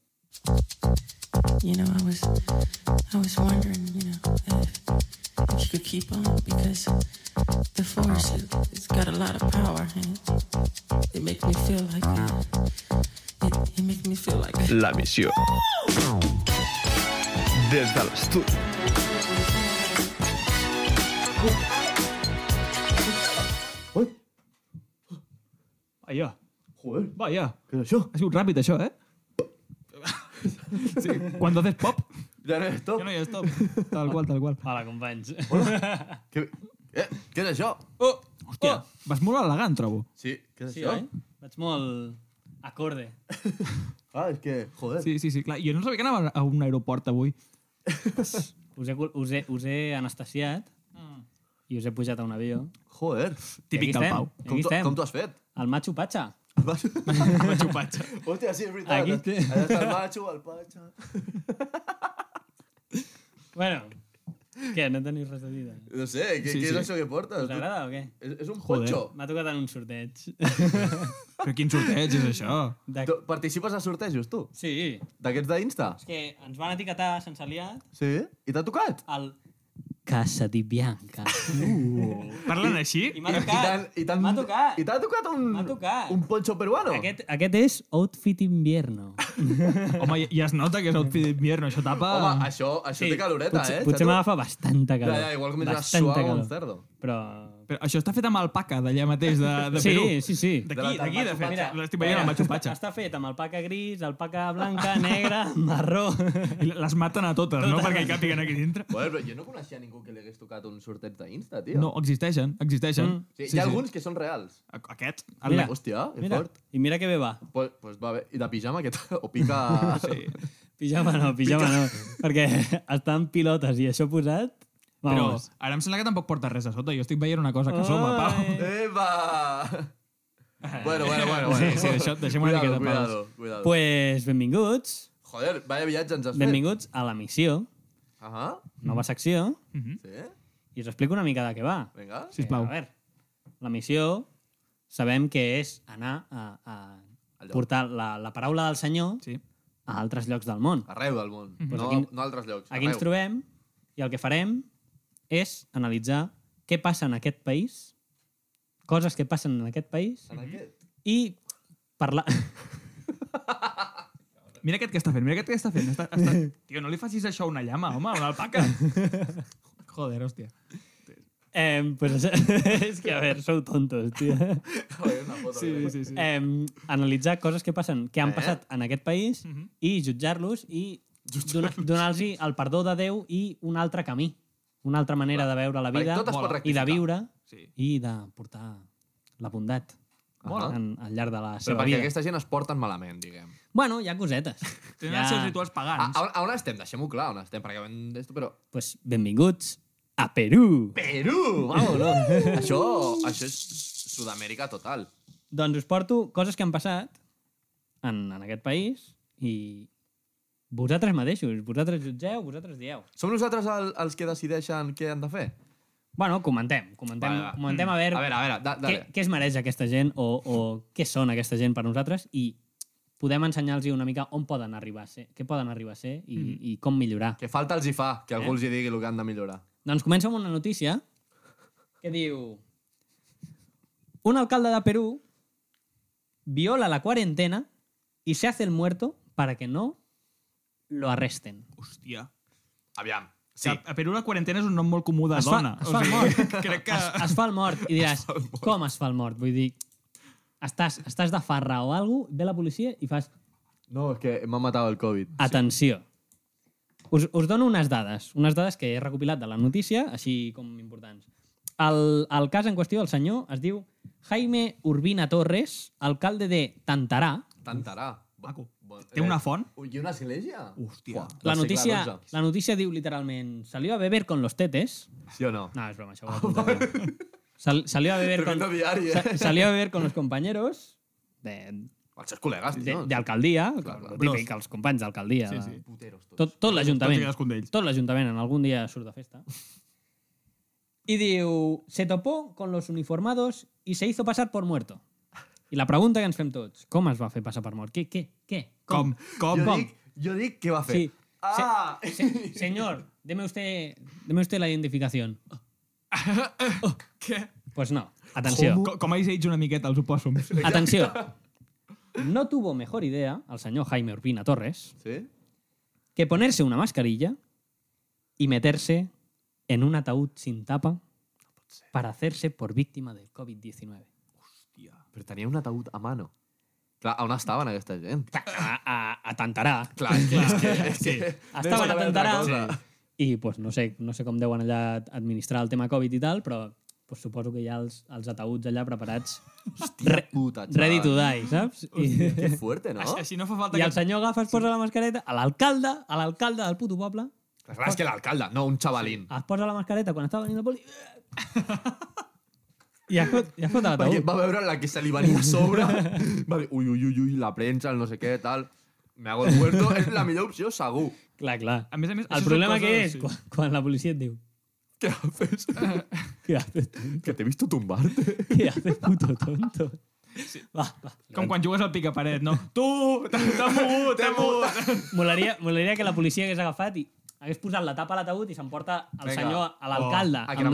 [SPEAKER 6] You know, I was, I was wondering, you know, if, if you could keep on because the force it, it's got a lot of power and it, it makes me feel like it, it makes me feel like
[SPEAKER 1] La missió. Des de l'estudi.
[SPEAKER 5] Allò.
[SPEAKER 3] Joder,
[SPEAKER 5] Vaja.
[SPEAKER 3] què és això?
[SPEAKER 5] Ha sigut ràpid, això, eh? sí, quan haces pop,
[SPEAKER 3] Ja no és tot.
[SPEAKER 5] ja no hi ha stop. Tal qual, tal qual.
[SPEAKER 4] Hola, companys.
[SPEAKER 3] Què, eh, què és això?
[SPEAKER 5] Oh, hòstia, oh. vas molt elegant, trobo.
[SPEAKER 3] Sí, què és
[SPEAKER 4] Sí,
[SPEAKER 3] això?
[SPEAKER 4] oi? Vaig molt acorde.
[SPEAKER 3] Ah, és que, joder.
[SPEAKER 5] Sí, sí, sí, clar. Jo no sabia que anava a un aeroport avui.
[SPEAKER 4] Us he, col- us he, us he anestesiat Mm. i us he pujat a un avió.
[SPEAKER 3] Joder.
[SPEAKER 5] Típic
[SPEAKER 4] I aquí
[SPEAKER 5] del
[SPEAKER 4] estem.
[SPEAKER 5] Pau.
[SPEAKER 4] I
[SPEAKER 3] Com
[SPEAKER 4] Aquí
[SPEAKER 3] t'ho-
[SPEAKER 4] estem.
[SPEAKER 3] com t'ho has fet?
[SPEAKER 4] El Machu Pacha.
[SPEAKER 5] Machu Picchu.
[SPEAKER 3] Hòstia, sí, és veritat.
[SPEAKER 4] Aquí té.
[SPEAKER 3] Allà està el macho, el patxa...
[SPEAKER 4] Bueno, què, no teniu res a dir? doncs?
[SPEAKER 3] No sé, què, què és
[SPEAKER 5] Sí, sí. Pues
[SPEAKER 3] això que portes?
[SPEAKER 4] Us agrada o què?
[SPEAKER 3] És, és un
[SPEAKER 5] Joder.
[SPEAKER 3] ponxo.
[SPEAKER 4] M'ha tocat en un sorteig.
[SPEAKER 5] Però quin sorteig és això?
[SPEAKER 4] De...
[SPEAKER 3] Tu Participes a sortejos, tu?
[SPEAKER 4] Sí,
[SPEAKER 3] D'aquests d'Insta?
[SPEAKER 4] és que ens van etiquetar sense aliat
[SPEAKER 3] Sí? I t'ha tocat?
[SPEAKER 4] al... Casa di Bianca.
[SPEAKER 5] Parlen així?
[SPEAKER 4] I m'ha
[SPEAKER 3] I
[SPEAKER 4] tocat.
[SPEAKER 3] t'han- i t'han-
[SPEAKER 4] M'ha tocat.
[SPEAKER 3] I t'ha tocat un,
[SPEAKER 4] M'ha tocat.
[SPEAKER 3] un poncho peruano?
[SPEAKER 4] Aquest, aquest és Outfit Invierno.
[SPEAKER 5] Home, ja, ja es nota que és outfit d'invierno, això tapa...
[SPEAKER 3] Home, això, això té caloreta,
[SPEAKER 4] potser,
[SPEAKER 3] eh?
[SPEAKER 4] Potser
[SPEAKER 3] xato?
[SPEAKER 4] m'agafa bastanta calor.
[SPEAKER 3] Ja, ja, igual comença a
[SPEAKER 4] Bastanta
[SPEAKER 3] suar com
[SPEAKER 4] calor.
[SPEAKER 3] un cerdo.
[SPEAKER 4] Però...
[SPEAKER 5] Però això està fet amb alpaca d'allà mateix, de, de
[SPEAKER 4] sí,
[SPEAKER 5] Perú.
[SPEAKER 4] sí, sí.
[SPEAKER 5] D'aquí, d'aquí, de fet.
[SPEAKER 4] Mira,
[SPEAKER 5] L'estic veient al Machu Picchu.
[SPEAKER 4] Està fet amb alpaca gris, alpaca blanca, negra, marró...
[SPEAKER 5] I les maten a totes, no? Perquè hi càpiguen aquí dintre.
[SPEAKER 3] Bueno, però jo no coneixia ningú que li hagués tocat un sorteig d'Insta, tio.
[SPEAKER 5] No, existeixen, existeixen.
[SPEAKER 4] Mm.
[SPEAKER 3] Sí, sí, hi ha alguns que són reals.
[SPEAKER 5] A- Aquest, el
[SPEAKER 4] Ah, Mira.
[SPEAKER 5] de-
[SPEAKER 3] Hòstia, és
[SPEAKER 4] Mira,
[SPEAKER 3] fort.
[SPEAKER 4] i mira que bé va.
[SPEAKER 3] Pues, pues va bé. I de pijama, que t- o pica... Sí.
[SPEAKER 4] Pijama no, pijama no. Perquè estan pilotes i això posat...
[SPEAKER 5] Però
[SPEAKER 4] Vamos.
[SPEAKER 5] ara em sembla que tampoc porta res a sota. Jo estic veient una cosa que soma, Pau.
[SPEAKER 3] Eva! bueno, bueno, bueno. bueno.
[SPEAKER 5] Sí, sí, deixa- deixem una
[SPEAKER 3] cuidado,
[SPEAKER 5] miqueta de
[SPEAKER 3] cuidado,
[SPEAKER 5] paus.
[SPEAKER 3] Cuidado,
[SPEAKER 4] Pues benvinguts,
[SPEAKER 3] Joder, vaya viatge ens has
[SPEAKER 4] benvinguts a la missió,
[SPEAKER 3] fet. Ahà,
[SPEAKER 5] Mm.
[SPEAKER 4] nova secció,
[SPEAKER 3] sí.
[SPEAKER 4] i us explico una mica de què va.
[SPEAKER 3] Vinga.
[SPEAKER 5] Mhm. Sisplau.
[SPEAKER 4] Eh, a veure, la missió sabem que és anar a, a
[SPEAKER 3] Allò.
[SPEAKER 4] portar la, la paraula del Senyor
[SPEAKER 5] Sí.
[SPEAKER 4] a altres llocs del món.
[SPEAKER 3] Arreu del món.
[SPEAKER 4] Pues
[SPEAKER 3] no,
[SPEAKER 4] aquí-
[SPEAKER 3] no a altres llocs.
[SPEAKER 4] Aquí ens
[SPEAKER 3] arreu.
[SPEAKER 4] trobem i el que farem és analitzar què passa en aquest país, coses que passen en aquest país,
[SPEAKER 3] En aquest.
[SPEAKER 4] i parlar...
[SPEAKER 5] Mira aquest que està fent, mira aquest que està fent. Està, està... Tio, no li facis això a una llama, home, a una alpaca. Joder, hòstia.
[SPEAKER 4] Eh, pues això- és que, a veure, sou tontos, tio.
[SPEAKER 3] Joder, una foto.
[SPEAKER 5] Sí, sí, sí.
[SPEAKER 4] Eh, analitzar coses que passen, que han
[SPEAKER 3] Eh? Mhm.
[SPEAKER 4] passat en aquest país i jutjar-los i donar- donar-los el perdó de Déu i un altre camí, una altra manera de veure la
[SPEAKER 3] Perquè
[SPEAKER 4] vida
[SPEAKER 3] tot es pot
[SPEAKER 4] i de
[SPEAKER 3] rectificar.
[SPEAKER 4] viure
[SPEAKER 5] Sí.
[SPEAKER 4] i de portar la bondat
[SPEAKER 3] Mola.
[SPEAKER 4] en, al llarg de la
[SPEAKER 3] Però
[SPEAKER 4] seva
[SPEAKER 3] perquè
[SPEAKER 4] vida.
[SPEAKER 3] aquesta gent es porten malament, diguem.
[SPEAKER 4] Bueno, hi ha cosetes.
[SPEAKER 5] Tenen
[SPEAKER 4] Hi ha-
[SPEAKER 5] els seus rituals
[SPEAKER 3] A,
[SPEAKER 5] pagans.
[SPEAKER 3] a, on, a on estem? Deixem-ho clar, on estem, perquè acabem d'esto, però...
[SPEAKER 4] Pues, benvinguts a Perú.
[SPEAKER 3] Perú! Vámonos! això, això és Sud-amèrica total.
[SPEAKER 4] Doncs us porto coses que han passat en, en aquest país i vosaltres mateixos, vosaltres jutgeu, vosaltres dieu.
[SPEAKER 3] Som nosaltres el, els que decideixen què han de fer?
[SPEAKER 4] Bueno, comentem, comentem,
[SPEAKER 3] Vale, va. Mm.
[SPEAKER 4] comentem a veure,
[SPEAKER 3] A veure, a veure, da,
[SPEAKER 4] què,
[SPEAKER 3] dale.
[SPEAKER 4] què es mereix aquesta gent o, o què són aquesta gent per nosaltres i podem ensenyar-los una mica on poden arribar a ser, què poden arribar a ser i, mm -hmm. i com millorar.
[SPEAKER 3] Que falta els hi fa, que algú els hi digui el que han de millorar.
[SPEAKER 4] Doncs comença amb una notícia que diu... Un alcalde de Perú viola la cuarentena y se hace el muerto para que no lo arresten.
[SPEAKER 5] Hòstia.
[SPEAKER 9] Aviam.
[SPEAKER 5] Sí.
[SPEAKER 9] Sí,
[SPEAKER 5] A Perú la quarantena és un nom molt comú de
[SPEAKER 4] Es fa-
[SPEAKER 5] dona.
[SPEAKER 4] es fa molt.
[SPEAKER 5] crec que...
[SPEAKER 4] Es, es fa el mort i diràs, com es fa el mort? Vull dir, estàs, estàs de farra o alguna cosa, ve la policia i fas,
[SPEAKER 3] No, és que m'ha matat el Covid.
[SPEAKER 4] atenció. Us, us dono unes dades, unes dades que he recopilat de la notícia, així com importants. El, el cas en qüestió, el senyor, es diu Jaime Urbina Torres, alcalde de Tantarà.
[SPEAKER 3] Tantarà.
[SPEAKER 5] Maco. Té
[SPEAKER 3] eh,
[SPEAKER 5] una font?
[SPEAKER 3] I una església?
[SPEAKER 5] Hòstia. Uah.
[SPEAKER 4] La notícia, la notícia diu literalment Salió a beber con los tetes.
[SPEAKER 3] Sí o no?
[SPEAKER 4] No, és broma, això ho he
[SPEAKER 5] Ah,
[SPEAKER 4] apuntat jo. Sal, salió a beber con...
[SPEAKER 3] Tremendo diari, eh?
[SPEAKER 4] sa- Salió a beber con los compañeros de,
[SPEAKER 3] Els seus col·legues,
[SPEAKER 4] de,
[SPEAKER 3] tio.
[SPEAKER 4] de alcaldia, el típic, els companys d'alcaldia.
[SPEAKER 5] Sí, sí.
[SPEAKER 3] Puteros, tots.
[SPEAKER 4] Tot, tot l'Ajuntament.
[SPEAKER 5] Tots i cadascun d'ells.
[SPEAKER 4] Tot l'Ajuntament, en algun dia surt de festa. I diu, se topó con los uniformados y se hizo pasar por muerto. I la pregunta que ens fem tots, com es va fer passar per mort? Què, què, què?
[SPEAKER 5] Com? Com?
[SPEAKER 3] jo,
[SPEAKER 5] com?
[SPEAKER 3] Dic, jo dic què va fer.
[SPEAKER 4] Sí.
[SPEAKER 3] Ah!
[SPEAKER 4] Se- se- señor, deme usted, deme usted la identificación.
[SPEAKER 5] Oh, Què?
[SPEAKER 4] Pues no. Atenció.
[SPEAKER 5] Com, com a Ice Age una miqueta, els opòssums.
[SPEAKER 4] Atenció. No tuvo mejor idea el señor Jaime Urbina Torres
[SPEAKER 3] Sí?
[SPEAKER 4] que ponerse una mascarilla y meterse en un ataúd sin tapa para hacerse por víctima del COVID-19.
[SPEAKER 3] Però tenia un ataúd a mano. Clar, on estaven aquesta gent?
[SPEAKER 4] A, a, a Tantarà.
[SPEAKER 3] Clar, clar. És que, és que,
[SPEAKER 4] Estaven
[SPEAKER 3] no hi pot
[SPEAKER 4] a
[SPEAKER 3] haver altra
[SPEAKER 4] Tantarà.
[SPEAKER 3] cosa.
[SPEAKER 4] I pues, no, sé, no sé com deuen allà administrar el tema Covid i tal, però pues, suposo que hi ha els, els ataúds allà preparats re,
[SPEAKER 3] puta, xaval.
[SPEAKER 4] ready to die, saps? I,
[SPEAKER 3] Que fuerte, no?
[SPEAKER 5] Així, així no fa falta
[SPEAKER 4] I el
[SPEAKER 5] que...
[SPEAKER 4] senyor agafa, es posa la mascareta, a l'alcalde, a l'alcalde del puto poble,
[SPEAKER 3] Clar, és que l'alcalde, no un xavalín.
[SPEAKER 4] es posa la mascareta quan estava venint el poli... I es fot, i es fot a
[SPEAKER 3] Perquè
[SPEAKER 4] l'ataúd.
[SPEAKER 3] va veure la que se li venia a sobre. Va dir, ui, ui, ui, ui, la premsa, el no sé què, tal. Me hago el muerto. És la millor opció, segur.
[SPEAKER 4] Clar, clar.
[SPEAKER 5] A més a més,
[SPEAKER 4] El problema que és
[SPEAKER 5] Sí.
[SPEAKER 4] quan, quan la policia et diu
[SPEAKER 3] Què haces?
[SPEAKER 4] què haces,
[SPEAKER 3] que t'he vist tumbar-te.
[SPEAKER 4] què haces puto tonto? Va, va.
[SPEAKER 5] Com quan jugues al picaparet, no? Tu! T'has t'has mogut, t'has mogut!
[SPEAKER 4] Molaria, molaria que la policia hagués agafat i hagués posat la tapa a l'ataúd i s'emporta el
[SPEAKER 3] Vinga.
[SPEAKER 4] senyor a l'alcalde
[SPEAKER 3] Oh, a
[SPEAKER 4] amb
[SPEAKER 3] cremar,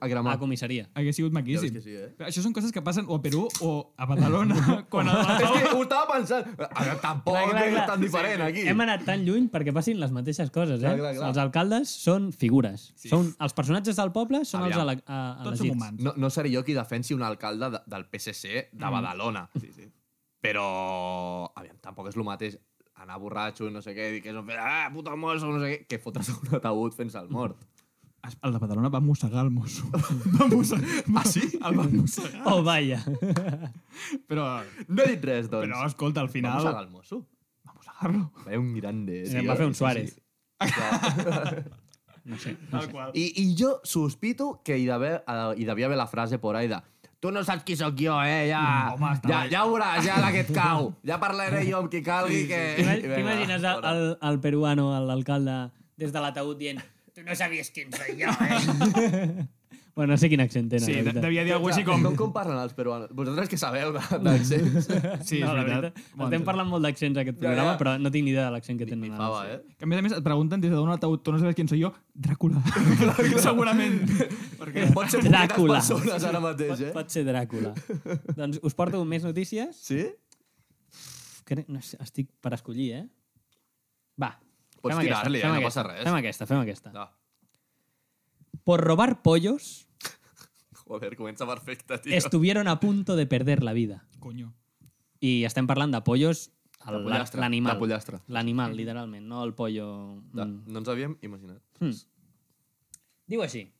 [SPEAKER 3] a
[SPEAKER 4] a,
[SPEAKER 3] cremar.
[SPEAKER 4] la comissaria.
[SPEAKER 5] Hauria sigut maquíssim.
[SPEAKER 3] Ja veus que sí, eh?
[SPEAKER 5] Però Això són coses que passen o a Perú o a Badalona. quan el...
[SPEAKER 3] És que ho estava pensant. Ara, tampoc
[SPEAKER 4] Clar, clar,
[SPEAKER 3] Oh, és
[SPEAKER 4] clar.
[SPEAKER 3] tan diferent, aquí.
[SPEAKER 4] Hem anat tan lluny perquè passin les mateixes coses, eh?
[SPEAKER 3] Clar, clar, clar.
[SPEAKER 4] Els alcaldes són figures. Sí. Són, els personatges del poble són
[SPEAKER 3] Aviam.
[SPEAKER 4] els ele- a-
[SPEAKER 5] Tots som
[SPEAKER 4] elegits.
[SPEAKER 5] humans.
[SPEAKER 3] No, no seré jo qui defensi un alcalde de, del PSC de Badalona. Sí, sí. Però, aviam, tampoc és el mateix anar borratxo, no sé què, dir que és un fet, ah, puta mosso, no sé què, que fotre's un ataúd fent el mort.
[SPEAKER 5] El de Badalona va mossegar el mosso.
[SPEAKER 3] Va ah, sí?
[SPEAKER 5] El va mossegar.
[SPEAKER 4] Oh, vaya.
[SPEAKER 5] Però,
[SPEAKER 3] No he dit res, doncs.
[SPEAKER 5] però escolta, al
[SPEAKER 3] Vamos
[SPEAKER 5] final...
[SPEAKER 3] a el mosso.
[SPEAKER 5] Va mossegar-lo.
[SPEAKER 3] Va un eh, grande.
[SPEAKER 4] Sí,
[SPEAKER 3] tio.
[SPEAKER 4] va fer un Suárez.
[SPEAKER 5] Tal qual.
[SPEAKER 3] I, I jo sospito que hi devia, hi devia haver la frase por ahí de tu no saps qui sóc jo, eh? Ja,
[SPEAKER 5] Home, està
[SPEAKER 3] ja,
[SPEAKER 5] bé.
[SPEAKER 3] ja veuràs, ja la que et cau. Ja parlaré jo amb qui calgui que... Vinga,
[SPEAKER 4] T'imagines el,
[SPEAKER 3] fora.
[SPEAKER 4] el, el peruano, el- l'alcalde, des de l'ataúd dient tu no sabies quin soy jo, eh? bueno, no sé quin accent tenen.
[SPEAKER 5] Sí,
[SPEAKER 4] la
[SPEAKER 5] de-
[SPEAKER 4] veritat.
[SPEAKER 5] devia dir alguna cosa així
[SPEAKER 3] Com,
[SPEAKER 5] com...
[SPEAKER 3] com parlen els peruanos? Vosaltres que sabeu de- d'accents.
[SPEAKER 5] Sí, és
[SPEAKER 4] no, la
[SPEAKER 5] veritat.
[SPEAKER 4] veritat.
[SPEAKER 5] Bon,
[SPEAKER 4] Estem parlant molt d'accents aquest
[SPEAKER 3] Ja,
[SPEAKER 4] programa,
[SPEAKER 3] ja.
[SPEAKER 4] però no tinc ni idea de l'accent que tenen. ara.
[SPEAKER 3] Fava, eh?
[SPEAKER 5] Que a més a més et pregunten des d'un ataúd, tu no sabes quin soy jo? Dràcula. Segurament. Perquè...
[SPEAKER 3] Pot ser poquetes
[SPEAKER 4] Dràcula.
[SPEAKER 3] persones ara mateix, eh?
[SPEAKER 4] Pot ser Dràcula. doncs us porto més notícies.
[SPEAKER 3] Sí?
[SPEAKER 4] Crec, no sé, estic per escollir, eh? Va.
[SPEAKER 3] Pots
[SPEAKER 4] fem aquesta,
[SPEAKER 3] tirar-li, eh?
[SPEAKER 4] fem
[SPEAKER 3] No
[SPEAKER 4] aquesta,
[SPEAKER 3] passa res.
[SPEAKER 4] Fem aquesta, fem aquesta.
[SPEAKER 3] No.
[SPEAKER 4] Por robar pollos,
[SPEAKER 3] Joder, comença perfecte, tio.
[SPEAKER 4] estuvieron a punto de perder la vida.
[SPEAKER 5] Conyo.
[SPEAKER 4] I estem parlant de pollos,
[SPEAKER 3] De
[SPEAKER 4] el-
[SPEAKER 3] pollastre,
[SPEAKER 4] l'animal.
[SPEAKER 3] de pollastre.
[SPEAKER 4] L'animal, literalment, no el pollo...
[SPEAKER 3] No,
[SPEAKER 4] Mm. Hmm.
[SPEAKER 3] no ens havíem imaginat.
[SPEAKER 4] Digo así.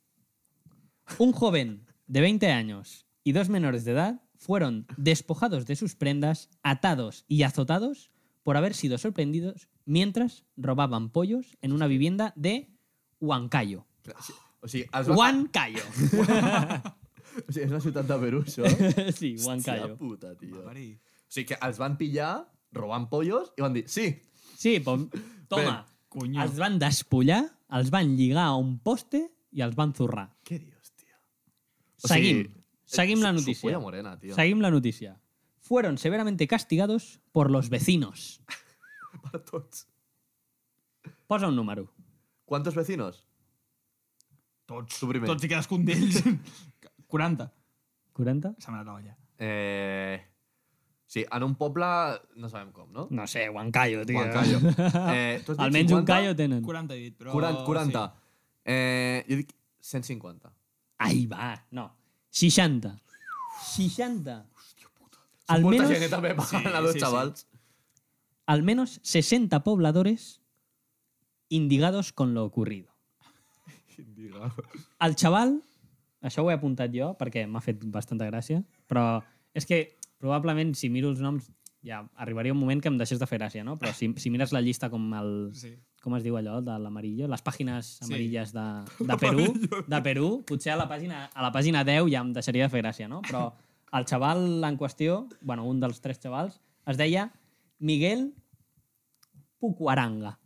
[SPEAKER 4] Un joven de 20 años y dos menores de edad fueron despojados de sus prendas, atados y azotados por haber sido sorprendidos mientras robaban pollos en una vivienda de Huancayo.
[SPEAKER 3] O sigui, es va...
[SPEAKER 4] Huancayo.
[SPEAKER 3] O sigui, és una ciutat de Perú, això.
[SPEAKER 4] sí,
[SPEAKER 3] Hòstia
[SPEAKER 4] Huancayo.
[SPEAKER 3] puta, tio. O sigui, que els van pillar robant pollos i van dir, sí,
[SPEAKER 4] Sí, pues, toma.
[SPEAKER 5] Coño.
[SPEAKER 4] Els van despullar, els van lligar a un poste i els van zurrar.
[SPEAKER 3] Què dius, tio? O
[SPEAKER 4] Seguim.
[SPEAKER 3] sigui,
[SPEAKER 9] Eh,
[SPEAKER 4] Seguim la
[SPEAKER 3] Su- su
[SPEAKER 4] notícia.
[SPEAKER 3] polla morena, tio.
[SPEAKER 4] Seguim la noticia. Fueron severamente castigados por los vecinos.
[SPEAKER 3] Per tots.
[SPEAKER 4] Posa un número.
[SPEAKER 3] ¿Cuántos vecinos?
[SPEAKER 5] Tots.
[SPEAKER 3] Tu primer.
[SPEAKER 5] Tots i cadascun d'ells. 40.
[SPEAKER 4] 40?
[SPEAKER 5] S'ha anat a olla.
[SPEAKER 9] Eh... Sí, en un poble no sabem com, no?
[SPEAKER 4] No sé, Huancayo, tio.
[SPEAKER 9] Huancayo. Eh, tu has dit
[SPEAKER 4] Almenys
[SPEAKER 9] 50?
[SPEAKER 4] un callo tenen.
[SPEAKER 5] 40 he dit, però...
[SPEAKER 3] 40, 40.
[SPEAKER 5] Oh, Sí.
[SPEAKER 9] Eh, jo dic 150.
[SPEAKER 4] Ai, va, no. 60. 60. Al
[SPEAKER 9] Molta
[SPEAKER 4] menos,
[SPEAKER 9] gent també va sí, a dos
[SPEAKER 5] sí, sí.
[SPEAKER 9] xavals.
[SPEAKER 4] al menos 60 pobladores indigados con lo ocurrido. El xaval, això ho he apuntat jo perquè m'ha fet bastanta gràcia, però és que probablement si miro els noms ja arribaria un moment que em deixés de fer gràcia, no? Però si, si mires la llista com el...
[SPEAKER 5] Sí.
[SPEAKER 4] Com es diu allò de l'amarillo? Les pàgines amarilles de, de Perú. De Perú. Potser a la, pàgina, a la pàgina 10 ja em deixaria de fer gràcia, no? Però el xaval en qüestió, bueno, un dels tres xavals, es deia Miguel Pucuaranga.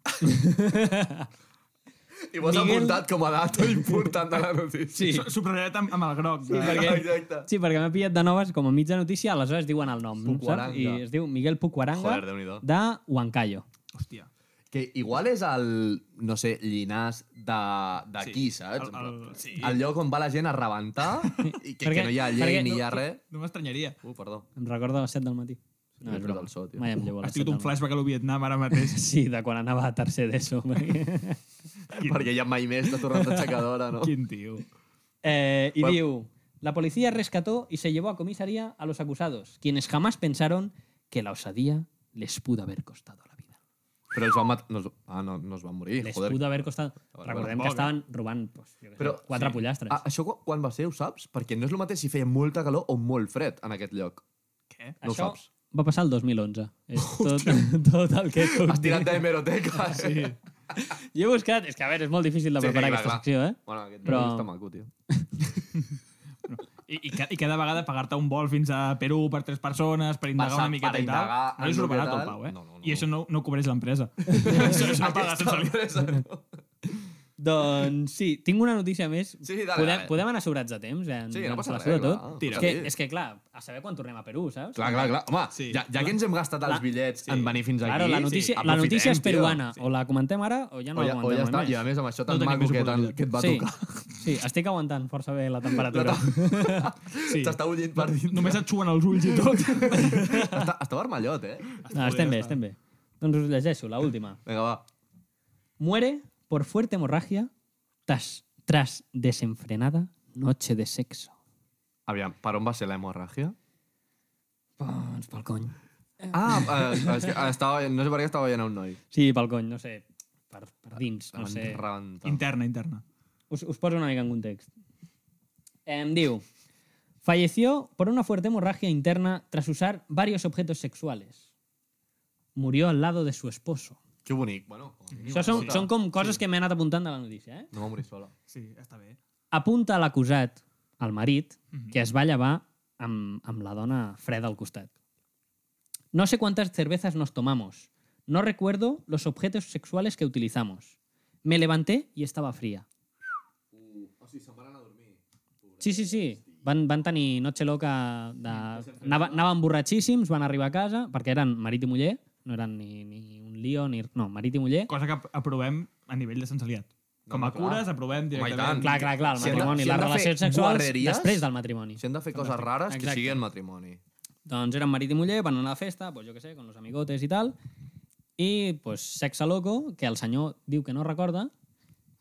[SPEAKER 9] I ho has
[SPEAKER 4] Miguel-
[SPEAKER 9] apuntat com a data important de la notícia.
[SPEAKER 5] Su- Subratllat amb, amb el groc. Sí,
[SPEAKER 9] Exacte.
[SPEAKER 4] Sí, perquè m'he pillat de noves com a mitja notícia, aleshores diuen el nom, saps?
[SPEAKER 3] Pucuaranga.
[SPEAKER 4] I es diu Miguel Pucuaranga
[SPEAKER 9] Joder, Déu-n'hi-do.
[SPEAKER 4] de Huancayo.
[SPEAKER 5] Hòstia.
[SPEAKER 3] Que igual és el, no sé, llinars de- d'aquí, sí, saps?
[SPEAKER 5] El, el, sí.
[SPEAKER 3] el lloc on va la gent a rebentar i que,
[SPEAKER 4] Perquè-
[SPEAKER 3] que no hi ha llei
[SPEAKER 4] perquè
[SPEAKER 3] ni
[SPEAKER 4] no-
[SPEAKER 3] hi ha res.
[SPEAKER 5] No m'estranyaria.
[SPEAKER 3] Uh, perdó.
[SPEAKER 4] Em recorda a les 7 del matí.
[SPEAKER 3] m'he
[SPEAKER 4] és
[SPEAKER 3] fet el
[SPEAKER 4] broma.
[SPEAKER 3] so, tio.
[SPEAKER 4] Mai em llevo a
[SPEAKER 5] Has
[SPEAKER 4] les 7
[SPEAKER 5] tingut
[SPEAKER 4] del
[SPEAKER 5] un
[SPEAKER 4] matí.
[SPEAKER 5] flashback a lo Vietnam ara mateix.
[SPEAKER 4] Sí, de quan anava a tercer d'ESO. perquè-
[SPEAKER 3] Perquè ja mai més t'ha tornat aixecadora, no?
[SPEAKER 5] Quin tio.
[SPEAKER 4] eh, y diu, la policía rescató y se llevó a comisaría a los acusados, quienes jamás pensaron que la osadía les pudo haber costado la vida.
[SPEAKER 3] Però els van matar... No, es- ah, no, no es van morir,
[SPEAKER 4] Les
[SPEAKER 3] joder.
[SPEAKER 4] pudo haber costado...
[SPEAKER 3] Bueno,
[SPEAKER 4] Recordem
[SPEAKER 3] tampoc,
[SPEAKER 4] que estaven robant pues, jo què sé,
[SPEAKER 3] Però,
[SPEAKER 4] quatre pollastres.
[SPEAKER 3] Ah, això quan- quan va ser, ho saps? Perquè no és el mateix si feia molta calor o molt fred en aquest lloc.
[SPEAKER 5] Què?
[SPEAKER 3] No ho
[SPEAKER 4] Això
[SPEAKER 3] saps.
[SPEAKER 4] va passar el 2011. És tot, tot el que puc
[SPEAKER 3] Has tirat
[SPEAKER 4] dir.
[SPEAKER 3] d'hemeroteca. Sí.
[SPEAKER 4] Jo he buscat... És que, a veure, és molt difícil de
[SPEAKER 3] Sí, sí,
[SPEAKER 4] preparar
[SPEAKER 3] clar,
[SPEAKER 4] aquesta
[SPEAKER 3] clar.
[SPEAKER 4] secció, eh?
[SPEAKER 3] Bueno, aquest
[SPEAKER 4] Però-
[SPEAKER 3] Però... està maco, tio.
[SPEAKER 5] I, i, ca- i cada vegada pagar-te un vol fins a Perú per tres persones, per indagar
[SPEAKER 3] Passar
[SPEAKER 5] una miqueta
[SPEAKER 3] per
[SPEAKER 5] i tal,
[SPEAKER 3] indagar
[SPEAKER 5] no li
[SPEAKER 3] en
[SPEAKER 5] surt
[SPEAKER 3] lo que
[SPEAKER 5] barat el
[SPEAKER 3] tal.
[SPEAKER 5] pau, eh?
[SPEAKER 3] No, no, no.
[SPEAKER 5] I això no, no ho cobreix l'empresa. això, això paga sense li...
[SPEAKER 4] Doncs sí, tinc una notícia més.
[SPEAKER 3] Sí, sí, dale,
[SPEAKER 4] podem,
[SPEAKER 3] dale.
[SPEAKER 4] podem anar sobrats de temps? Eh?
[SPEAKER 3] Sí, no passa
[SPEAKER 4] la
[SPEAKER 3] res,
[SPEAKER 4] suda
[SPEAKER 3] clar.
[SPEAKER 4] tot.
[SPEAKER 5] Tira.
[SPEAKER 4] És que,
[SPEAKER 3] Sí.
[SPEAKER 4] és que, clar, a saber quan tornem a Perú, saps?
[SPEAKER 3] Clar, clar, clar. Home, sí.
[SPEAKER 5] Sí.
[SPEAKER 3] ja, ja que ens hem gastat els bitllets en venir fins aquí...
[SPEAKER 4] Claro, la notícia, la
[SPEAKER 3] aprofitem,
[SPEAKER 4] notícia és
[SPEAKER 3] tio.
[SPEAKER 4] peruana. O la comentem ara o ja no
[SPEAKER 3] O
[SPEAKER 4] la
[SPEAKER 3] ja, o
[SPEAKER 4] comentem
[SPEAKER 3] ja està,
[SPEAKER 4] mai
[SPEAKER 3] i a més amb això tan
[SPEAKER 5] No
[SPEAKER 3] no
[SPEAKER 5] tenim
[SPEAKER 3] maco
[SPEAKER 5] més
[SPEAKER 3] que, tan,
[SPEAKER 5] oportunitat.
[SPEAKER 3] que et va
[SPEAKER 4] sí,
[SPEAKER 3] tocar. Tota-
[SPEAKER 4] sí, estic aguantant força bé la temperatura.
[SPEAKER 5] Sí.
[SPEAKER 3] T'està bullint per dins.
[SPEAKER 5] Només et xuen els ulls i tot.
[SPEAKER 3] Està, està vermellot, eh?
[SPEAKER 4] No, estem bé, estem bé. Doncs us llegeixo, la última.
[SPEAKER 3] Vinga, va.
[SPEAKER 4] Muere por fuerte hemorragia tras, tras desenfrenada noche de sexo.
[SPEAKER 3] Aviam, per on va ser l'hemorràgia?
[SPEAKER 4] Doncs pel cony.
[SPEAKER 3] Ah, eh, és que estava, no sé per què estava veient un noi.
[SPEAKER 4] Sí, pel cony, no sé. Per, per dins, no
[SPEAKER 3] Em
[SPEAKER 4] sé.
[SPEAKER 3] rebenta.
[SPEAKER 5] Interna, interna.
[SPEAKER 4] Os, os poso una mica en context. Em diu, falleció por una fuerte hemorragia interna tras usar varios objetos sexuales. Murió al lado de su esposo.
[SPEAKER 3] Que bonic. Bueno, com a mínim,
[SPEAKER 4] Això són,
[SPEAKER 3] escolta,
[SPEAKER 4] són com coses que m'he anat apuntant de la notícia, eh?
[SPEAKER 3] No va morir sola.
[SPEAKER 5] Sí, està bé.
[SPEAKER 4] Apunta a l'acusat, el marit,
[SPEAKER 3] Mhm.
[SPEAKER 4] que es va llevar amb, amb la dona freda al costat. No sé cuántas cervezas nos tomamos. No recuerdo los objetos sexuales que utilizamos. Me levanté y estaba fría. Sí, sí, sí. Van, van tenir noche loca de... Anava, anaven borratxíssims, van arribar a casa, perquè eren marit i muller, no eren ni, ni un lío, ni... No, marit i muller.
[SPEAKER 5] Cosa que aprovem a nivell de sensalitat. Com a
[SPEAKER 3] clar.
[SPEAKER 5] cures, aprovem
[SPEAKER 3] tant.
[SPEAKER 5] directament.
[SPEAKER 4] Clar, clar, clar, el
[SPEAKER 3] Si hem de-
[SPEAKER 4] matrimoni,
[SPEAKER 3] si
[SPEAKER 4] les
[SPEAKER 3] hem de fer
[SPEAKER 4] relacions sexuals
[SPEAKER 3] guarreries-
[SPEAKER 4] després del matrimoni.
[SPEAKER 3] Si hem de fer coses rares, que
[SPEAKER 4] Exacte.
[SPEAKER 3] sigui en matrimoni.
[SPEAKER 4] Doncs eren marit i muller, van anar a la festa, pues, jo que sé, con los amigotes i tal, i pues, sexe loco, que el senyor diu que no recorda,